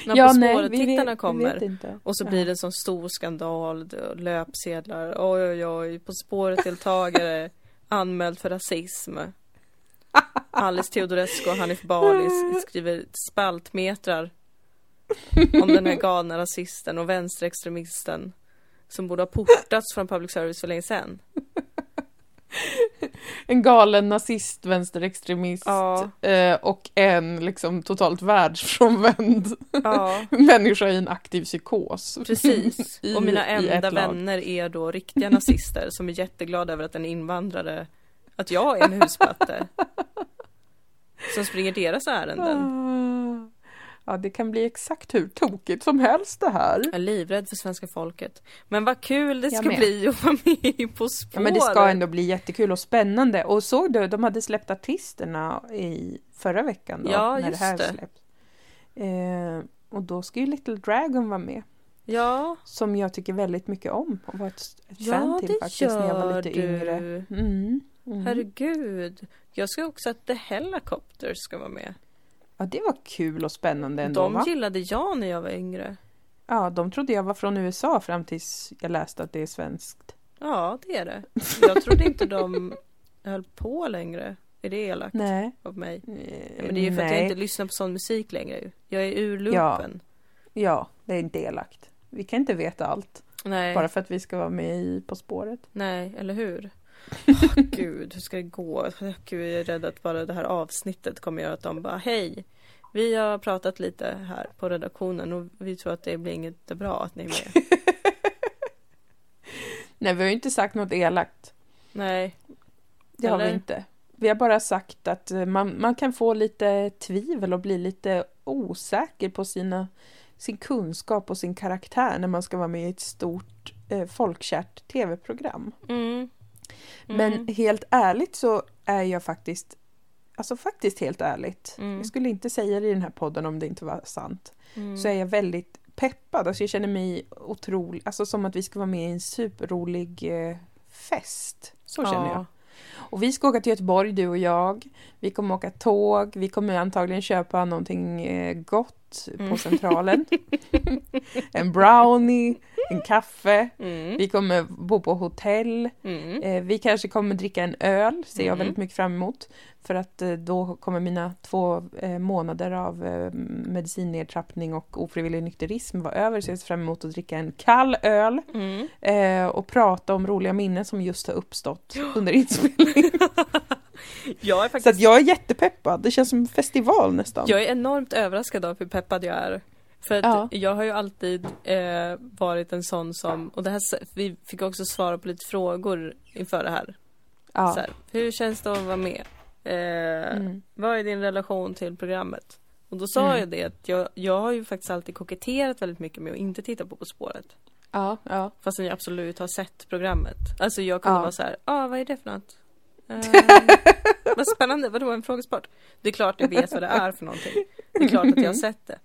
[SPEAKER 2] När På spåret-tittarna kommer.
[SPEAKER 1] inte.
[SPEAKER 2] Och så
[SPEAKER 1] Ja.
[SPEAKER 2] blir det en sån stor skandal, det- och löpsedlar, oj oj oj, På [LAUGHS] spåret-deltagare anmäld för rasism. Alice Teodorescu och Hanif Bali s- skriver spaltmetrar om den här galna rasisten och vänsterextremisten som borde ha portats från public service för länge sedan.
[SPEAKER 1] En galen nazist, vänsterextremist
[SPEAKER 2] Ja.
[SPEAKER 1] eh, och en liksom totalt världsfrånvänd [LAUGHS]
[SPEAKER 2] Ja,
[SPEAKER 1] människa i en aktiv psykos.
[SPEAKER 2] precis.
[SPEAKER 1] [LAUGHS] I-
[SPEAKER 2] Och mina
[SPEAKER 1] i ett
[SPEAKER 2] enda
[SPEAKER 1] lag.
[SPEAKER 2] vänner är då riktiga nazister som är jätteglada över att en invandrare, att jag är en
[SPEAKER 1] [LAUGHS]
[SPEAKER 2] huspatte. Som springer deras ärenden.
[SPEAKER 1] Ah. Ja, det kan bli exakt hur tokigt som helst det här.
[SPEAKER 2] Jag är livrädd för svenska folket. Men vad kul det
[SPEAKER 1] Jag
[SPEAKER 2] ska
[SPEAKER 1] med.
[SPEAKER 2] bli att vara med i På
[SPEAKER 1] Ja,
[SPEAKER 2] spåret.
[SPEAKER 1] men det ska ändå bli jättekul och spännande. Och såg du, de hade släppt artisterna i förra veckan då,
[SPEAKER 2] Ja,
[SPEAKER 1] när
[SPEAKER 2] just
[SPEAKER 1] det här
[SPEAKER 2] det.
[SPEAKER 1] släpps. Eh, och då ska ju Little Dragon vara med,
[SPEAKER 2] Ja,
[SPEAKER 1] som jag tycker väldigt mycket om och var ett, ett fan
[SPEAKER 2] ja
[SPEAKER 1] till
[SPEAKER 2] det
[SPEAKER 1] faktiskt när jag var
[SPEAKER 2] gör
[SPEAKER 1] lite
[SPEAKER 2] du.
[SPEAKER 1] yngre. Mm. Mm.
[SPEAKER 2] Herregud. Jag ska också att The Helicopters ska vara med.
[SPEAKER 1] Ja, det var kul och spännande ändå,
[SPEAKER 2] De
[SPEAKER 1] va?
[SPEAKER 2] gillade jag när jag var yngre.
[SPEAKER 1] Ja, de trodde jag var från USA fram tills jag läste att det är svenskt.
[SPEAKER 2] Ja, det är det. Jag trodde inte de höll på längre. Är det elakt
[SPEAKER 1] Nej.
[SPEAKER 2] av mig?
[SPEAKER 1] Eh,
[SPEAKER 2] Ja, men det är ju för att
[SPEAKER 1] nej.
[SPEAKER 2] jag inte lyssnar på sån musik längre. ju. Jag är ur loopen.
[SPEAKER 1] Ja, det är inte elakt. Vi kan inte veta allt,
[SPEAKER 2] Nej.
[SPEAKER 1] bara för att vi ska vara med i På spåret.
[SPEAKER 2] Nej, eller
[SPEAKER 1] [LAUGHS]
[SPEAKER 2] hur? Åh, gud, hur ska det gå? Gud, jag är rädd att bara det här avsnittet kommer göra att de bara hej. Vi har pratat lite här på redaktionen och vi tror att det blir inget bra att ni är
[SPEAKER 1] [LAUGHS]
[SPEAKER 2] med.
[SPEAKER 1] Nej, vi har ju inte sagt något elakt.
[SPEAKER 2] Nej,
[SPEAKER 1] Det har vi
[SPEAKER 2] Eller?
[SPEAKER 1] inte. Vi har bara sagt att eh, man, man kan få lite tvivel och bli lite osäker på sina, sin kunskap och sin karaktär när man ska vara med i ett stort eh, folkkärt tv-program.
[SPEAKER 2] mm. Mm.
[SPEAKER 1] Men helt ärligt så är jag faktiskt, alltså faktiskt helt ärligt,
[SPEAKER 2] Mm.
[SPEAKER 1] jag skulle inte säga det i den här podden om det inte var sant,
[SPEAKER 2] mm.
[SPEAKER 1] så är jag väldigt peppad. Alltså jag känner mig otrolig, alltså som att vi ska vara med i en superrolig eh, fest. Så känner jag.
[SPEAKER 2] Ja.
[SPEAKER 1] Och vi ska åka till Göteborg, du och jag. Vi kommer åka tåg, vi kommer antagligen köpa någonting eh, gott på
[SPEAKER 2] Mm. [LAUGHS]
[SPEAKER 1] Centralen. en brownie, en kaffe.
[SPEAKER 2] Mm.
[SPEAKER 1] Vi kommer bo på hotell.
[SPEAKER 2] Mm.
[SPEAKER 1] Eh, vi kanske kommer dricka en öl, ser jag
[SPEAKER 2] Mm.
[SPEAKER 1] väldigt mycket fram emot. För att eh, då kommer mina två eh, månader av eh, medicinnedtrappning och ofrivillig nykterism vara över. Så jag ser fram emot att dricka en kall öl
[SPEAKER 2] Mm.
[SPEAKER 1] eh, och prata om roliga minnen som just
[SPEAKER 2] [GASPS]
[SPEAKER 1] har uppstått under inspelningen. Eh,
[SPEAKER 2] Jag är
[SPEAKER 1] Så
[SPEAKER 2] faktiskt
[SPEAKER 1] att jag är jättepeppad, det känns som en festival nästan.
[SPEAKER 2] Jag är enormt överraskad av hur peppad jag är. För att
[SPEAKER 1] Liksom. Ja.
[SPEAKER 2] jag har ju alltid eh, varit en sån som, och det här, s- vi fick också svara på lite frågor inför det här.
[SPEAKER 1] ja.
[SPEAKER 2] Så här, hur känns det att vara med? Eh,
[SPEAKER 1] Mm.
[SPEAKER 2] Vad är din relation till programmet? Och då sa
[SPEAKER 1] Mm.
[SPEAKER 2] jag det att jag, jag har ju faktiskt alltid koketterat väldigt mycket med att inte titta på På spåret.
[SPEAKER 1] ja, ja.
[SPEAKER 2] Fastän jag absolut har sett programmet. Alltså jag kunde
[SPEAKER 1] Ja.
[SPEAKER 2] vara så här, ah, vad är det för
[SPEAKER 1] [LAUGHS]
[SPEAKER 2] något? Eh, vad spännande, vadå en frågesport? Det är klart jag vet vad det är för någonting. Det är klart att jag har sett det.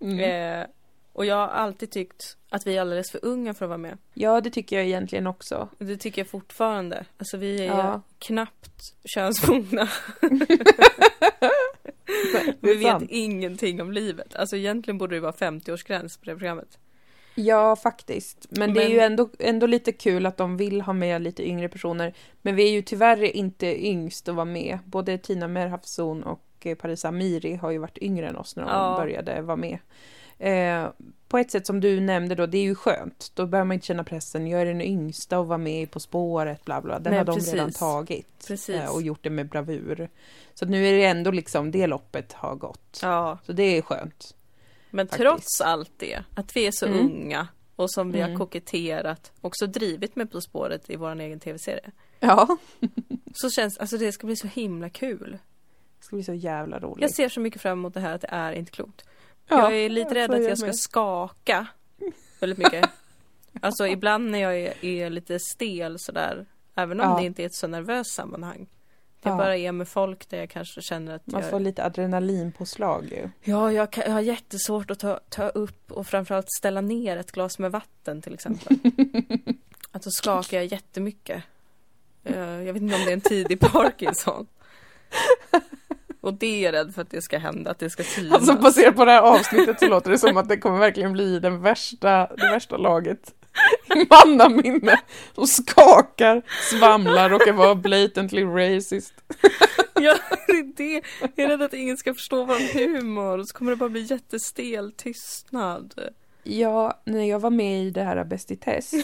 [SPEAKER 1] Mm.
[SPEAKER 2] Eh, och jag har alltid tyckt att vi är alldeles för unga för att vara med.
[SPEAKER 1] ja, det tycker jag egentligen också.
[SPEAKER 2] Och Det tycker jag fortfarande. Alltså vi är
[SPEAKER 1] Ja.
[SPEAKER 2] knappt könsmogna.
[SPEAKER 1] Det
[SPEAKER 2] Vi
[SPEAKER 1] är
[SPEAKER 2] vet
[SPEAKER 1] sant.
[SPEAKER 2] ingenting om livet. Alltså egentligen borde det vara 50-årsgräns på det programmet.
[SPEAKER 1] Ja, faktiskt. Men, det är
[SPEAKER 2] Men-
[SPEAKER 1] ju ändå, ändå lite kul att de vill ha med lite yngre personer. Men vi är ju tyvärr inte yngst att vara med. Både Tina Merhafzon och eh, Parisa Amiri har ju varit yngre än oss när de
[SPEAKER 2] Ja.
[SPEAKER 1] började vara med. Eh, på ett sätt som du nämnde då, det är ju skönt. Då behöver man inte känna pressen, jag är den yngsta och vara med i På spåret, bla bla. Den
[SPEAKER 2] Nej,
[SPEAKER 1] har de
[SPEAKER 2] precis.
[SPEAKER 1] redan tagit.
[SPEAKER 2] Precis.
[SPEAKER 1] eh, och gjort det med bravur. Så att nu är det ändå liksom, det loppet har gått.
[SPEAKER 2] Ja.
[SPEAKER 1] Så det är skönt.
[SPEAKER 2] Men
[SPEAKER 1] Faktiskt.
[SPEAKER 2] trots allt det, att vi är så
[SPEAKER 1] Mm.
[SPEAKER 2] unga och som vi har
[SPEAKER 1] Mm.
[SPEAKER 2] koketterat, också drivit med På spåret i vår egen tv-serie.
[SPEAKER 1] Ja.
[SPEAKER 2] Så känns, alltså det ska bli så himla kul.
[SPEAKER 1] Det ska bli så jävla roligt.
[SPEAKER 2] Jag ser så mycket fram emot det här att det är inte klokt.
[SPEAKER 1] Ja,
[SPEAKER 2] jag är lite rädd
[SPEAKER 1] tror
[SPEAKER 2] att jag ska
[SPEAKER 1] med.
[SPEAKER 2] skaka väldigt mycket. alltså ibland när jag är, är lite stel sådär, även om
[SPEAKER 1] Ja.
[SPEAKER 2] det inte är ett så nervöst sammanhang. Det
[SPEAKER 1] Ja.
[SPEAKER 2] bara är med folk där jag kanske känner att
[SPEAKER 1] Man
[SPEAKER 2] jag...
[SPEAKER 1] får lite adrenalinpåslag ju.
[SPEAKER 2] Ja, jag, kan, jag har [LAUGHS] jättesvårt att ta, ta upp och framförallt ställa ner ett glas med vatten till exempel. Att så skakar jag jättemycket. Eh, Jag vet inte om det är en tidig [LAUGHS] Parkinson. Och det är jag rädd för att det ska hända, att det ska synas.
[SPEAKER 1] Alltså baserat på det här avsnittet så låter det som att det kommer verkligen bli den värsta, det värsta laget i mannaminne som skakar, svamlar, råkar vara blatantly racist.
[SPEAKER 2] [LAUGHS] Ja, det är det. Jag är rädd att ingen ska förstå vår humor och så kommer det bara bli jättestel tystnad.
[SPEAKER 1] Ja, när jag var med i det här Bäst i [LAUGHS] test,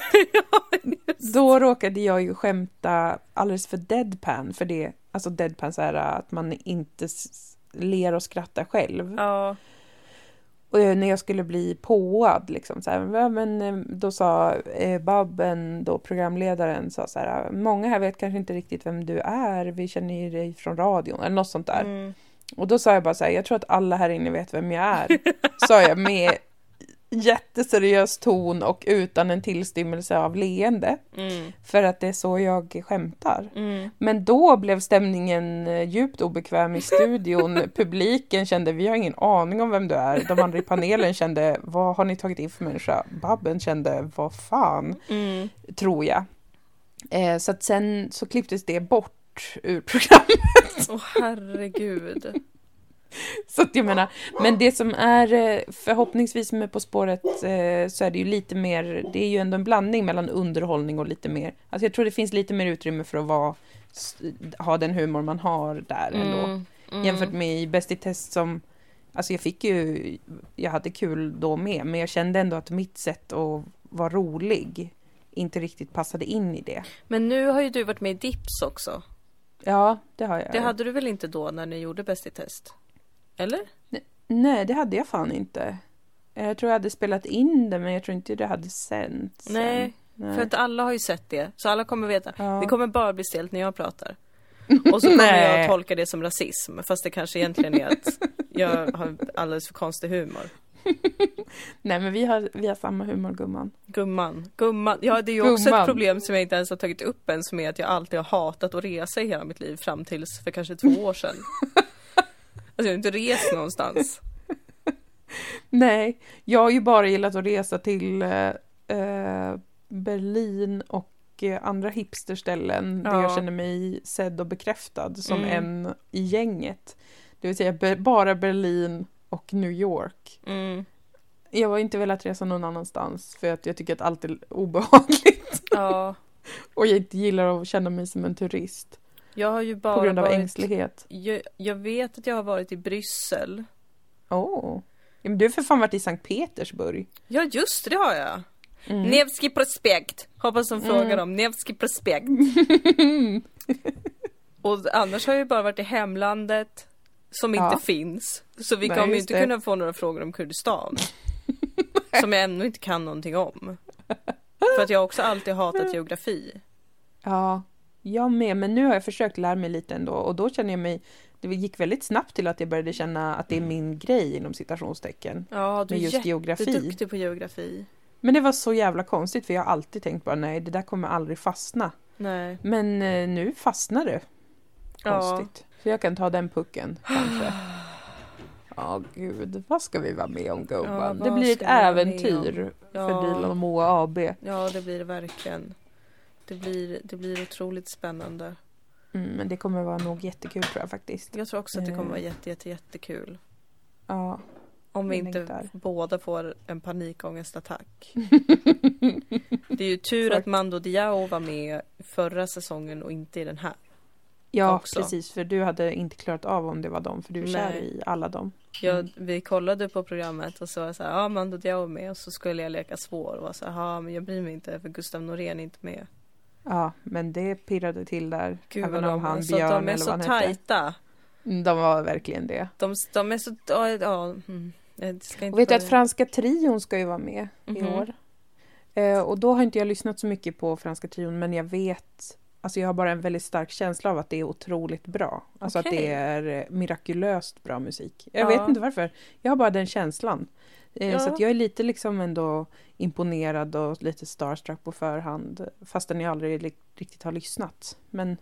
[SPEAKER 1] då råkade jag ju skämta alldeles för deadpan, för det, alltså deadpan så här att man inte s- ler och skrattar själv.
[SPEAKER 2] Ja,
[SPEAKER 1] Och jag, när jag skulle bli påad, liksom, så här, "Va, men, eh, då sa eh, Babben, då programledaren, sa så här, många här vet kanske inte riktigt vem du är, vi känner ju dig från radion, eller något sånt där.
[SPEAKER 2] mm.
[SPEAKER 1] Och då sa jag bara så här, jag tror att alla här inne vet vem jag är, [LAUGHS] sa jag med jätteseriös ton och utan en tillstymmelse av leende,
[SPEAKER 2] Mm.
[SPEAKER 1] för att det är så jag skämtar.
[SPEAKER 2] Mm.
[SPEAKER 1] Men då blev stämningen eh, djupt obekväm i studion. Publiken kände, vi har ingen aning om vem du är. De andra i panelen kände, vad har ni tagit in för människa? Babben kände, vad fan,
[SPEAKER 2] Mm.
[SPEAKER 1] tror jag. Eh, så att sen så klipptes det bort ur [LAUGHS] programmet.
[SPEAKER 2] Åh herregud.
[SPEAKER 1] Så att jag menar, men det som är eh, förhoppningsvis med På spåret eh, så är det ju lite mer, det är ju ändå en blandning mellan underhållning och lite mer, alltså jag tror det finns lite mer utrymme för att vara, s- ha den humor man har där ändå.
[SPEAKER 2] mm.
[SPEAKER 1] jämfört med i Bäst i test som Alltså jag fick ju, jag hade kul då med, men jag kände ändå att mitt sätt att vara rolig inte riktigt passade in i det.
[SPEAKER 2] Men nu har ju du varit med i Dips också.
[SPEAKER 1] Ja, det har jag.
[SPEAKER 2] Det hade du väl inte då när ni gjorde Bäst i test? Eller?
[SPEAKER 1] Nej, det hade jag fan inte. Jag tror jag hade spelat in det, men jag tror inte det hade sänts.
[SPEAKER 2] Nej,
[SPEAKER 1] sen.
[SPEAKER 2] För att alla har ju sett det, så alla kommer veta.
[SPEAKER 1] Ja.
[SPEAKER 2] Det kommer bara bli stelt när jag
[SPEAKER 1] [LAUGHS]
[SPEAKER 2] pratar. Och så kommer
[SPEAKER 1] Nej.
[SPEAKER 2] jag tolka det som rasism, fast det kanske egentligen är att jag har alldeles för konstig humor.
[SPEAKER 1] Nej, men vi har, vi har samma humor, gumman.
[SPEAKER 2] Gumman, gumman. Ja, det är ju också ett
[SPEAKER 1] Gumman.
[SPEAKER 2] problem som jag inte ens har tagit upp än, som är att jag alltid har hatat att resa i hela mitt liv fram tills för kanske två år
[SPEAKER 1] [LAUGHS]
[SPEAKER 2] sedan. Alltså jag har inte rest någonstans.
[SPEAKER 1] Nej, jag har ju bara gillat att resa till eh, eh, Berlin och eh, andra hipsterställen där
[SPEAKER 2] Ja.
[SPEAKER 1] jag känner mig sedd och bekräftad som
[SPEAKER 2] Mm.
[SPEAKER 1] en i gänget. Det vill säga be- bara Berlin och New York.
[SPEAKER 2] Mm.
[SPEAKER 1] Jag har ju inte velat resa någon annanstans för att jag tycker att allt är obehagligt [LAUGHS]
[SPEAKER 2] Ja,
[SPEAKER 1] och jag inte gillar att känna mig som en turist
[SPEAKER 2] jag har ju bara
[SPEAKER 1] på grund av
[SPEAKER 2] varit...
[SPEAKER 1] ängslighet.
[SPEAKER 2] Jag, jag vet att jag har varit i Bryssel.
[SPEAKER 1] Åh, oh. ja, men du har för fan varit i Sankt Petersburg.
[SPEAKER 2] Ja, just det det har jag.
[SPEAKER 1] Mm.
[SPEAKER 2] Nevski prospekt. Hoppas de frågar
[SPEAKER 1] Mm.
[SPEAKER 2] om Nevski
[SPEAKER 1] [LAUGHS]
[SPEAKER 2] prospekt. Och annars har jag ju bara varit i hemlandet som
[SPEAKER 1] Ja.
[SPEAKER 2] inte finns. Så vi
[SPEAKER 1] Nej,
[SPEAKER 2] kommer ju
[SPEAKER 1] just
[SPEAKER 2] inte
[SPEAKER 1] det.
[SPEAKER 2] kunna få några frågor om
[SPEAKER 1] [LAUGHS]
[SPEAKER 2] Kurdistan. som jag ännu inte kan någonting om. För att jag har också alltid hatat geografi.
[SPEAKER 1] Ja, jag med. Men nu har jag försökt lära mig lite ändå och då känner jag mig... Det gick väldigt snabbt till att jag började känna att det är min grej inom citationstecken.
[SPEAKER 2] Ja, du
[SPEAKER 1] Med just
[SPEAKER 2] är
[SPEAKER 1] geografi.
[SPEAKER 2] jätteduktig på geografi.
[SPEAKER 1] Men det var så jävla konstigt för jag har alltid tänkt bara nej, det där kommer aldrig fastna.
[SPEAKER 2] Nej.
[SPEAKER 1] Men eh, nu fastnar det.
[SPEAKER 2] Ja.
[SPEAKER 1] Konstigt. Så jag kan ta den pucken
[SPEAKER 2] [GASPS]
[SPEAKER 1] kanske. Ja, gud. Vad ska vi vara med om gumman? det
[SPEAKER 2] vad
[SPEAKER 1] blir ett
[SPEAKER 2] ska vi vara med
[SPEAKER 1] äventyr för
[SPEAKER 2] Ja.
[SPEAKER 1] Dilan och Moa AB.
[SPEAKER 2] Ja, det blir det verkligen. Det blir, det blir otroligt spännande.
[SPEAKER 1] Mm, men det kommer vara nog jättekul tror jag faktiskt.
[SPEAKER 2] Jag tror också att det kommer
[SPEAKER 1] Eh.
[SPEAKER 2] vara jätte, jätte, jättekul.
[SPEAKER 1] Ja.
[SPEAKER 2] Om vi
[SPEAKER 1] Jag
[SPEAKER 2] inte
[SPEAKER 1] längtar.
[SPEAKER 2] båda får en
[SPEAKER 1] [LAUGHS]
[SPEAKER 2] panikångestattack. det är ju tur att Mando Diao var med förra säsongen och inte i den här.
[SPEAKER 1] Ja,
[SPEAKER 2] också.
[SPEAKER 1] precis. För du hade inte klarat av om det var dem, för du är kär
[SPEAKER 2] Nej.
[SPEAKER 1] i alla dem. Mm.
[SPEAKER 2] Jag, vi kollade på programmet och så var jag så här, ja Mando Diao är med och så skulle jag leka svår och var så här, ja men jag bryr mig inte för Gustav Norén är inte med.
[SPEAKER 1] Ja, men det pirrade till där.
[SPEAKER 2] Gud vad
[SPEAKER 1] även om
[SPEAKER 2] de,
[SPEAKER 1] han
[SPEAKER 2] alltså,
[SPEAKER 1] Björn
[SPEAKER 2] de är
[SPEAKER 1] eller
[SPEAKER 2] så
[SPEAKER 1] vad han hette.
[SPEAKER 2] tajta.
[SPEAKER 1] Mm, De var verkligen det.
[SPEAKER 2] De, de är så, ja, ja mm. Jag ska inte
[SPEAKER 1] Och vet du
[SPEAKER 2] vara-
[SPEAKER 1] att Franska trion ska ju vara med
[SPEAKER 2] Mhm.
[SPEAKER 1] i år. Eh, och då har inte jag lyssnat så mycket på Franska trion, men jag vet Alltså jag har bara en väldigt stark känsla av att det är otroligt bra. Alltså att
[SPEAKER 2] Okej.
[SPEAKER 1] det är eh, mirakulöst bra musik. Jag
[SPEAKER 2] Ja.
[SPEAKER 1] vet inte varför. Jag har bara den känslan. Eh, Så
[SPEAKER 2] Ja.
[SPEAKER 1] att jag är lite liksom ändå imponerad och lite starstruck på förhand. Fastän jag aldrig li- riktigt har lyssnat. Men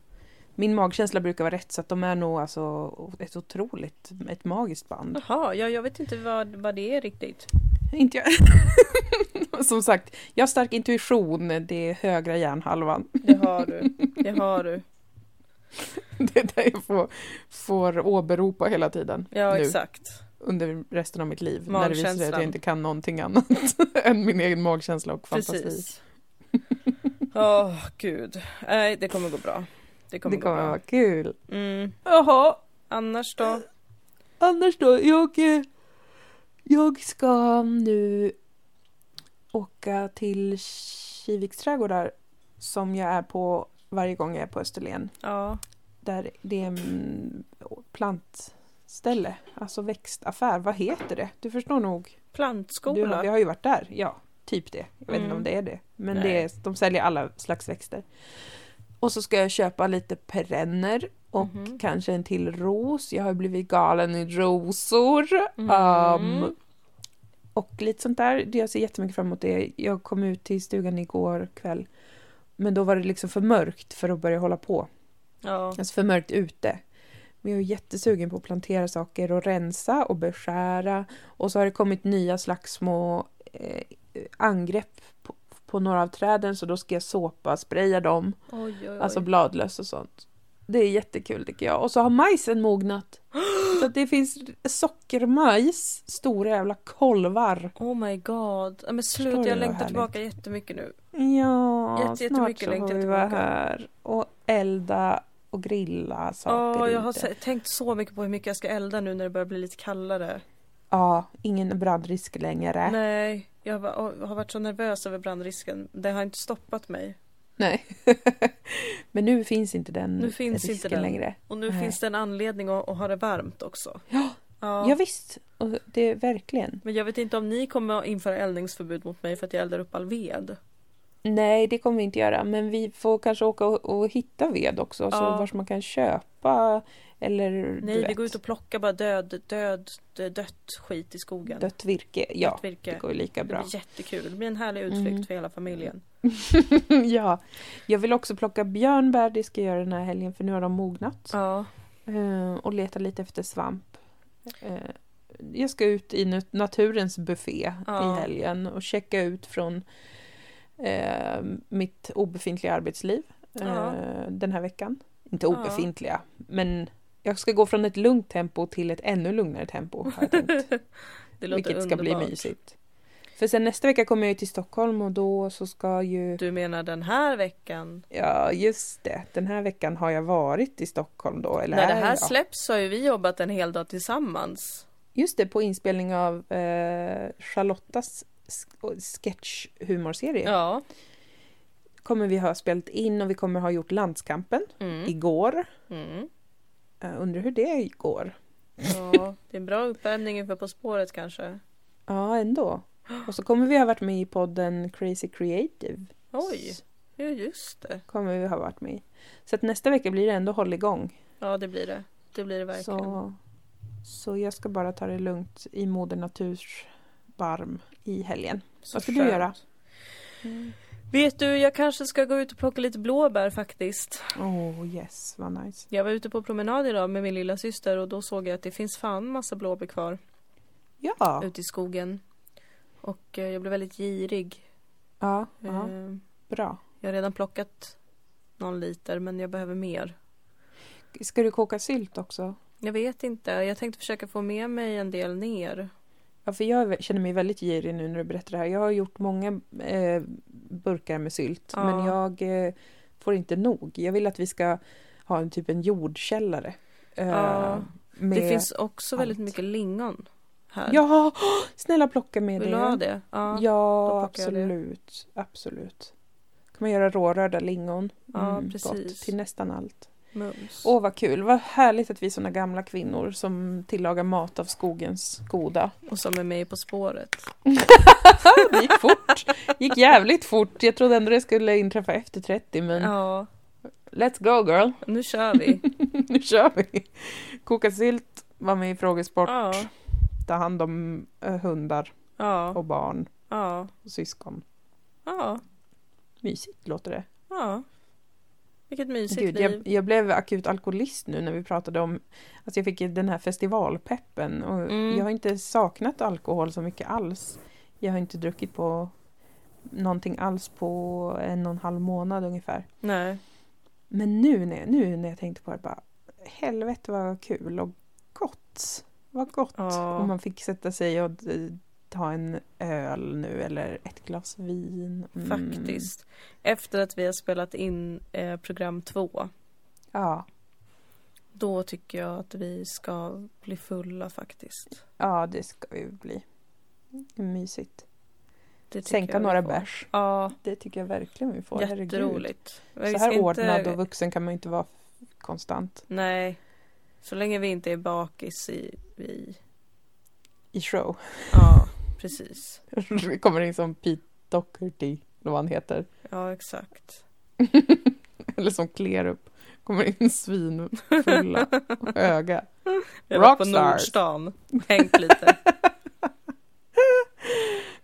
[SPEAKER 1] min magkänsla brukar vara rätt så att de är nog alltså ett otroligt, ett magiskt band.
[SPEAKER 2] Jaha, ja, jag vet inte vad, vad det är riktigt.
[SPEAKER 1] Inte jag. [LAUGHS] Som sagt, jag har stark intuition, det är högra hjärnhalvan. [LAUGHS]
[SPEAKER 2] Det har du. [LAUGHS] Det har du.
[SPEAKER 1] Det är det jag får, får åberopa hela tiden.
[SPEAKER 2] Ja,
[SPEAKER 1] nu,
[SPEAKER 2] exakt.
[SPEAKER 1] Under resten av mitt liv. När det visar sig att
[SPEAKER 2] Magkänslan.
[SPEAKER 1] jag inte kan någonting annat [LAUGHS] än min egen magkänsla och fantasi.
[SPEAKER 2] Precis. [LAUGHS] Åh, gud. Nej, det kommer gå bra. Det kommer,
[SPEAKER 1] Det kommer
[SPEAKER 2] gå
[SPEAKER 1] vara
[SPEAKER 2] bra.
[SPEAKER 1] kul.
[SPEAKER 2] Mm.
[SPEAKER 1] Jaha,
[SPEAKER 2] Annars då?
[SPEAKER 1] Annars då, jag, eh, jag ska nu åka till Kiviks trädgårdar som jag är på varje gång jag är på Österlen.
[SPEAKER 2] Ja.
[SPEAKER 1] Där det är en plantställe, alltså växtaffär. Vad heter det? Du förstår nog. Du,
[SPEAKER 2] Plantskola?
[SPEAKER 1] jag har ju varit där, ja. Typ det. Jag vet inte
[SPEAKER 2] Mm.
[SPEAKER 1] om det är det. Men
[SPEAKER 2] Nej.
[SPEAKER 1] det är, de säljer alla slags växter. Och så ska jag köpa lite perenner och
[SPEAKER 2] Mhm.
[SPEAKER 1] kanske en till ros. Jag har ju blivit galen i rosor.
[SPEAKER 2] Mhm.
[SPEAKER 1] Ehm, och lite sånt där. Det- Jag ser jättemycket fram emot det. Jag kom ut till stugan igår kväll. Men då var det liksom för mörkt för att börja hålla på.
[SPEAKER 2] Ja.
[SPEAKER 1] Alltså för mörkt ute. Men jag är jättesugen på att plantera saker och rensa och beskära. Och så har det kommit nya slags små eh, angrepp på, på några av träden så då ska jag såpa, spraya dem.
[SPEAKER 2] Oj, oj, oj.
[SPEAKER 1] Alltså bladlöss och sånt. Det är jättekul tycker jag. Och så har majsen mognat. Så att det finns sockermajs, stora jävla kolvar.
[SPEAKER 2] Oh my god. Ja, Men
[SPEAKER 1] Förstår
[SPEAKER 2] slut, jag
[SPEAKER 1] du vad
[SPEAKER 2] längtar
[SPEAKER 1] härligt?
[SPEAKER 2] tillbaka jättemycket nu.
[SPEAKER 1] Ja,
[SPEAKER 2] Jätte-
[SPEAKER 1] snart
[SPEAKER 2] jättemycket
[SPEAKER 1] så
[SPEAKER 2] längtar
[SPEAKER 1] får
[SPEAKER 2] jag
[SPEAKER 1] vi vara
[SPEAKER 2] tillbaka.
[SPEAKER 1] här. Och elda och grilla saker
[SPEAKER 2] Ja, jag har
[SPEAKER 1] ute.
[SPEAKER 2] se- tänkt så mycket på hur mycket jag ska elda nu när det börjar bli lite kallare.
[SPEAKER 1] Ja, ingen brandrisk längre. Nej.
[SPEAKER 2] Nej, jag va- och- har varit så nervös över brandrisken. Det har inte stoppat mig.
[SPEAKER 1] [LAUGHS] Men nu finns inte den
[SPEAKER 2] Nu finns inte
[SPEAKER 1] risken
[SPEAKER 2] den.
[SPEAKER 1] längre.
[SPEAKER 2] Och nu
[SPEAKER 1] Nej.
[SPEAKER 2] finns det en anledning att, att ha det varmt också.
[SPEAKER 1] Ja,
[SPEAKER 2] Ja.
[SPEAKER 1] ja. visst. Och det är verkligen.
[SPEAKER 2] Men jag vet inte om ni kommer att införa eldningsförbud mot mig för att jag eldar upp all ved.
[SPEAKER 1] Nej, det kommer vi inte göra. Men vi får kanske åka och, och hitta ved också. Så
[SPEAKER 2] Ja.
[SPEAKER 1] vars man kan köpa. Eller du
[SPEAKER 2] Nej, vi
[SPEAKER 1] vet,
[SPEAKER 2] går ut och plockar bara död, död, dö- dött skit i skogen.
[SPEAKER 1] dött virke. Ja,
[SPEAKER 2] Dött virke.
[SPEAKER 1] det går ju lika
[SPEAKER 2] Det
[SPEAKER 1] bra.
[SPEAKER 2] blir jättekul. Det blir en härlig utflykt
[SPEAKER 1] Mm.
[SPEAKER 2] för hela familjen.
[SPEAKER 1] [LAUGHS] ja. Jag vill också plocka björnbär. Det ska jag göra den här helgen för nu har de mognat.
[SPEAKER 2] Ja.
[SPEAKER 1] Eh, och leta lite efter svamp. Eh, jag ska ut i nat- naturens buffé
[SPEAKER 2] Ja.
[SPEAKER 1] i helgen och checka ut från eh, mitt obefintliga arbetsliv eh,
[SPEAKER 2] Ja.
[SPEAKER 1] den här veckan. Inte
[SPEAKER 2] Ja.
[SPEAKER 1] obefintliga, men jag ska gå från ett lugnt tempo till ett ännu lugnare tempo har jag tänkt.
[SPEAKER 2] [LAUGHS] Det låter
[SPEAKER 1] vilket ska
[SPEAKER 2] underbart.
[SPEAKER 1] bli mysigt. För sen nästa vecka kommer jag ju till Stockholm och då så ska ju...
[SPEAKER 2] Du menar den här veckan?
[SPEAKER 1] Ja, just det. Den här veckan har jag varit i Stockholm då. Eller
[SPEAKER 2] När
[SPEAKER 1] är
[SPEAKER 2] det här
[SPEAKER 1] jag?
[SPEAKER 2] släpps så har ju vi jobbat en hel dag tillsammans.
[SPEAKER 1] Just det, på inspelning av eh, Charlottas sk- sketchhumorserie
[SPEAKER 2] Ja.
[SPEAKER 1] kommer vi ha spelat in och vi kommer ha gjort Landskampen
[SPEAKER 2] Mm.
[SPEAKER 1] igår.
[SPEAKER 2] Mm.
[SPEAKER 1] Uh, undrar hur det går?
[SPEAKER 2] ja. Det är en bra uppvärmning inför På spåret kanske.
[SPEAKER 1] Ja, ändå. Och så kommer vi ha varit med i podden Crazy Creative.
[SPEAKER 2] Oj, ja just det.
[SPEAKER 1] Kommer vi ha varit med i. Så att nästa vecka blir det ändå hålligång.
[SPEAKER 2] Ja det blir det. Det blir det verkligen.
[SPEAKER 1] Så, så jag ska bara ta det lugnt i Moder Naturs barm i helgen.
[SPEAKER 2] Så
[SPEAKER 1] Vad ska du
[SPEAKER 2] skönt. Mm.
[SPEAKER 1] göra?
[SPEAKER 2] Vet du, jag kanske ska gå ut och plocka lite blåbär faktiskt.
[SPEAKER 1] Oh yes, vad nice.
[SPEAKER 2] Jag var ute på promenad idag med min lilla syster och då såg jag att det finns fan massa blåbär kvar
[SPEAKER 1] Ja,
[SPEAKER 2] ute i skogen. Och eh, jag blev väldigt girig.
[SPEAKER 1] ja, ja
[SPEAKER 2] Eh,
[SPEAKER 1] bra.
[SPEAKER 2] Jag har redan plockat någon liter men jag behöver mer.
[SPEAKER 1] Ska du koka sylt också?
[SPEAKER 2] Jag vet inte, jag tänkte försöka få med mig en del ner.
[SPEAKER 1] Ja, för jag känner mig väldigt girig nu när du berättar det här. Jag har gjort många eh, burkar med sylt,
[SPEAKER 2] Ja.
[SPEAKER 1] men jag eh, får inte nog. Jag vill att vi ska ha en typ en jordkällare. Eh,
[SPEAKER 2] Ja,
[SPEAKER 1] med...
[SPEAKER 2] Det finns också väldigt
[SPEAKER 1] allt.
[SPEAKER 2] mycket lingon här.
[SPEAKER 1] Ja, åh, snälla plocka med
[SPEAKER 2] Vill
[SPEAKER 1] det.
[SPEAKER 2] du ha det? Ja.
[SPEAKER 1] Ja,
[SPEAKER 2] då plockar jag det.
[SPEAKER 1] absolut. Absolut. Kan man göra rårörda lingon?
[SPEAKER 2] Ja,
[SPEAKER 1] Mm,
[SPEAKER 2] precis.
[SPEAKER 1] Till nästan allt.
[SPEAKER 2] Mums.
[SPEAKER 1] Åh, vad kul. Vad härligt att vi är såna gamla kvinnor som tillagar mat av skogens goda.
[SPEAKER 2] Och som är med På spåret.
[SPEAKER 1] Det gick fort. gick jävligt fort. Jag trodde ändå det skulle inträffa efter 30 men
[SPEAKER 2] Ja,
[SPEAKER 1] let's go girl. [LAUGHS]
[SPEAKER 2] nu kör vi.
[SPEAKER 1] Nu kör vi. Koka sylt, vara med i frågesport,
[SPEAKER 2] Ja,
[SPEAKER 1] ta hand om eh, hundar
[SPEAKER 2] ja,
[SPEAKER 1] och barn
[SPEAKER 2] ja,
[SPEAKER 1] och syskon.
[SPEAKER 2] ja,
[SPEAKER 1] Mysigt låter det.
[SPEAKER 2] ja. Vilket mysigt
[SPEAKER 1] Gud,
[SPEAKER 2] liv.
[SPEAKER 1] jag, jag blev akut alkoholist nu när vi pratade om, alltså jag fick ju den här festivalpeppen och
[SPEAKER 2] Mm.
[SPEAKER 1] jag har inte saknat alkohol så mycket alls. Jag har inte druckit på någonting alls på en och en halv månad ungefär.
[SPEAKER 2] Nej.
[SPEAKER 1] Men nu när, nu när jag tänkte på det bara, helvete vad kul och gott. Vad gott
[SPEAKER 2] Ja.
[SPEAKER 1] om man fick sätta sig och eh, ta en öl nu eller ett glas vin. Mm.
[SPEAKER 2] Faktiskt. Efter att vi har spelat in eh, program två.
[SPEAKER 1] Ja,
[SPEAKER 2] Då tycker jag att vi ska bli fulla faktiskt.
[SPEAKER 1] ja, det ska vi bli. Mysigt.
[SPEAKER 2] Det tycker
[SPEAKER 1] Sänka
[SPEAKER 2] jag vi
[SPEAKER 1] några
[SPEAKER 2] får.
[SPEAKER 1] bärs.
[SPEAKER 2] Ja,
[SPEAKER 1] Det tycker jag verkligen vi får. herregud.
[SPEAKER 2] jätteroligt. Vi ska
[SPEAKER 1] Så här
[SPEAKER 2] inte-
[SPEAKER 1] ordnad och vuxen kan man ju inte vara f- konstant
[SPEAKER 2] Nej. Så länge vi inte är bakis i... i
[SPEAKER 1] i show. [LAUGHS]
[SPEAKER 2] ja, precis.
[SPEAKER 1] Det kommer in som Pete Doherty, eller vad han heter.
[SPEAKER 2] Ja, exakt.
[SPEAKER 1] [LAUGHS] Eller som Klerup. Kommer in svinfulla och höga.
[SPEAKER 2] Jag var på
[SPEAKER 1] Rockstars.
[SPEAKER 2] Nordstan. Hängt lite.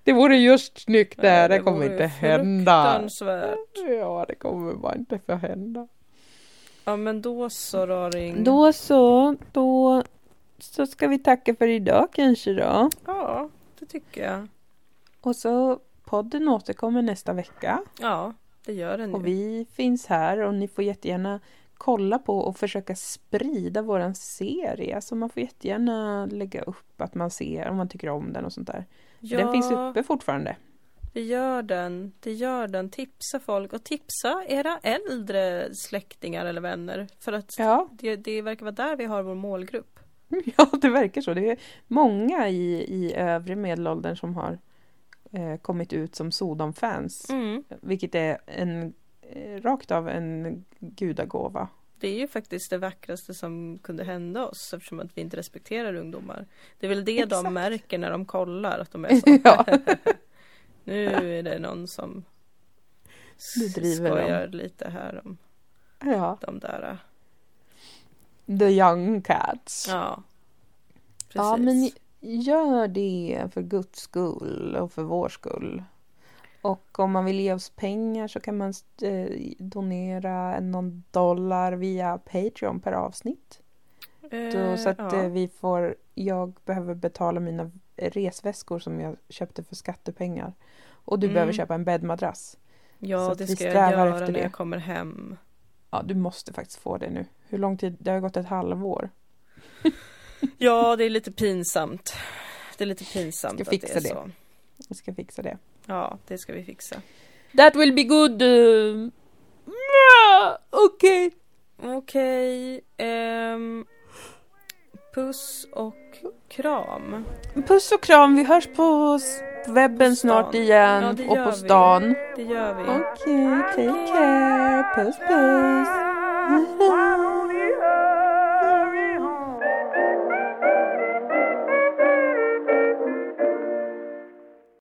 [SPEAKER 1] Det vore just snyggt
[SPEAKER 2] Nej,
[SPEAKER 1] där, det,
[SPEAKER 2] det
[SPEAKER 1] kommer
[SPEAKER 2] vore
[SPEAKER 1] inte hända.
[SPEAKER 2] Fruktansvärt.
[SPEAKER 1] Ja, det kommer bara inte få hända.
[SPEAKER 2] Ja, men då så Raring.
[SPEAKER 1] Då så, då så ska vi tacka för idag kanske då.
[SPEAKER 2] Ja, det tycker jag.
[SPEAKER 1] Och så podden återkommer nästa vecka.
[SPEAKER 2] Ja, det gör den ju.
[SPEAKER 1] Och vi finns här och ni får jättegärna kolla på och försöka sprida våran serie. Alltså man får jättegärna lägga upp att man ser om man tycker om den och sånt där.
[SPEAKER 2] ja,
[SPEAKER 1] Den finns uppe fortfarande.
[SPEAKER 2] det gör den. Det gör den. Tipsa folk och tipsa era äldre släktingar eller vänner. För att
[SPEAKER 1] Ja, [LAUGHS]
[SPEAKER 2] det, det verkar vara där vi har vår målgrupp.
[SPEAKER 1] ja det verkar så. Det är många i, i övre medelåldern som har eh, kommit ut som Sodom-fans.
[SPEAKER 2] Mm.
[SPEAKER 1] Vilket är en, eh, rakt av en
[SPEAKER 2] [LAUGHS]
[SPEAKER 1] gudagåva.
[SPEAKER 2] Det är ju faktiskt det vackraste som kunde hända oss eftersom att vi inte respekterar ungdomar. Det är väl det
[SPEAKER 1] Exakt.
[SPEAKER 2] de märker när de kollar att
[SPEAKER 1] [LAUGHS]
[SPEAKER 2] de är så.
[SPEAKER 1] Ja.
[SPEAKER 2] Nu är det någon som
[SPEAKER 1] Nu driver de.
[SPEAKER 2] skojar lite här om
[SPEAKER 1] ja.
[SPEAKER 2] de där.
[SPEAKER 1] The young cats.
[SPEAKER 2] Ja, precis.
[SPEAKER 1] Ja, men gör det för Guds skull och för vår skull. Och om man vill ge oss pengar så kan man eh, donera någon dollar via Patreon per avsnitt. Då,
[SPEAKER 2] Eh,
[SPEAKER 1] så att
[SPEAKER 2] ja.
[SPEAKER 1] eh, vi får, jag behöver betala mina eh, resväskor som jag köpte för skattepengar. Och du
[SPEAKER 2] Mm.
[SPEAKER 1] behöver köpa en bäddmadrass. så
[SPEAKER 2] ja,
[SPEAKER 1] att
[SPEAKER 2] det
[SPEAKER 1] vi
[SPEAKER 2] ska jag
[SPEAKER 1] strävar
[SPEAKER 2] göra
[SPEAKER 1] efter
[SPEAKER 2] när
[SPEAKER 1] det.
[SPEAKER 2] jag kommer hem.
[SPEAKER 1] Ja, du måste faktiskt få det nu. Hur lång tid? Det har ju gått ett halvår.
[SPEAKER 2] Ja, det är lite pinsamt. Det är lite pinsamt
[SPEAKER 1] Ska
[SPEAKER 2] att
[SPEAKER 1] fixa
[SPEAKER 2] det är
[SPEAKER 1] det.
[SPEAKER 2] så.
[SPEAKER 1] Jag ska fixa det.
[SPEAKER 2] Ja, det ska vi fixa.
[SPEAKER 1] That will be good. Uh... Okej.
[SPEAKER 2] Okej. ehm, puss och kram.
[SPEAKER 1] Puss och kram. Vi hörs på s- webben
[SPEAKER 2] På stan.
[SPEAKER 1] snart igen
[SPEAKER 2] Ja, det
[SPEAKER 1] och
[SPEAKER 2] gör
[SPEAKER 1] på
[SPEAKER 2] vi.
[SPEAKER 1] stan. Mm.
[SPEAKER 2] Det gör vi.
[SPEAKER 1] Okej, take care. Puss puss.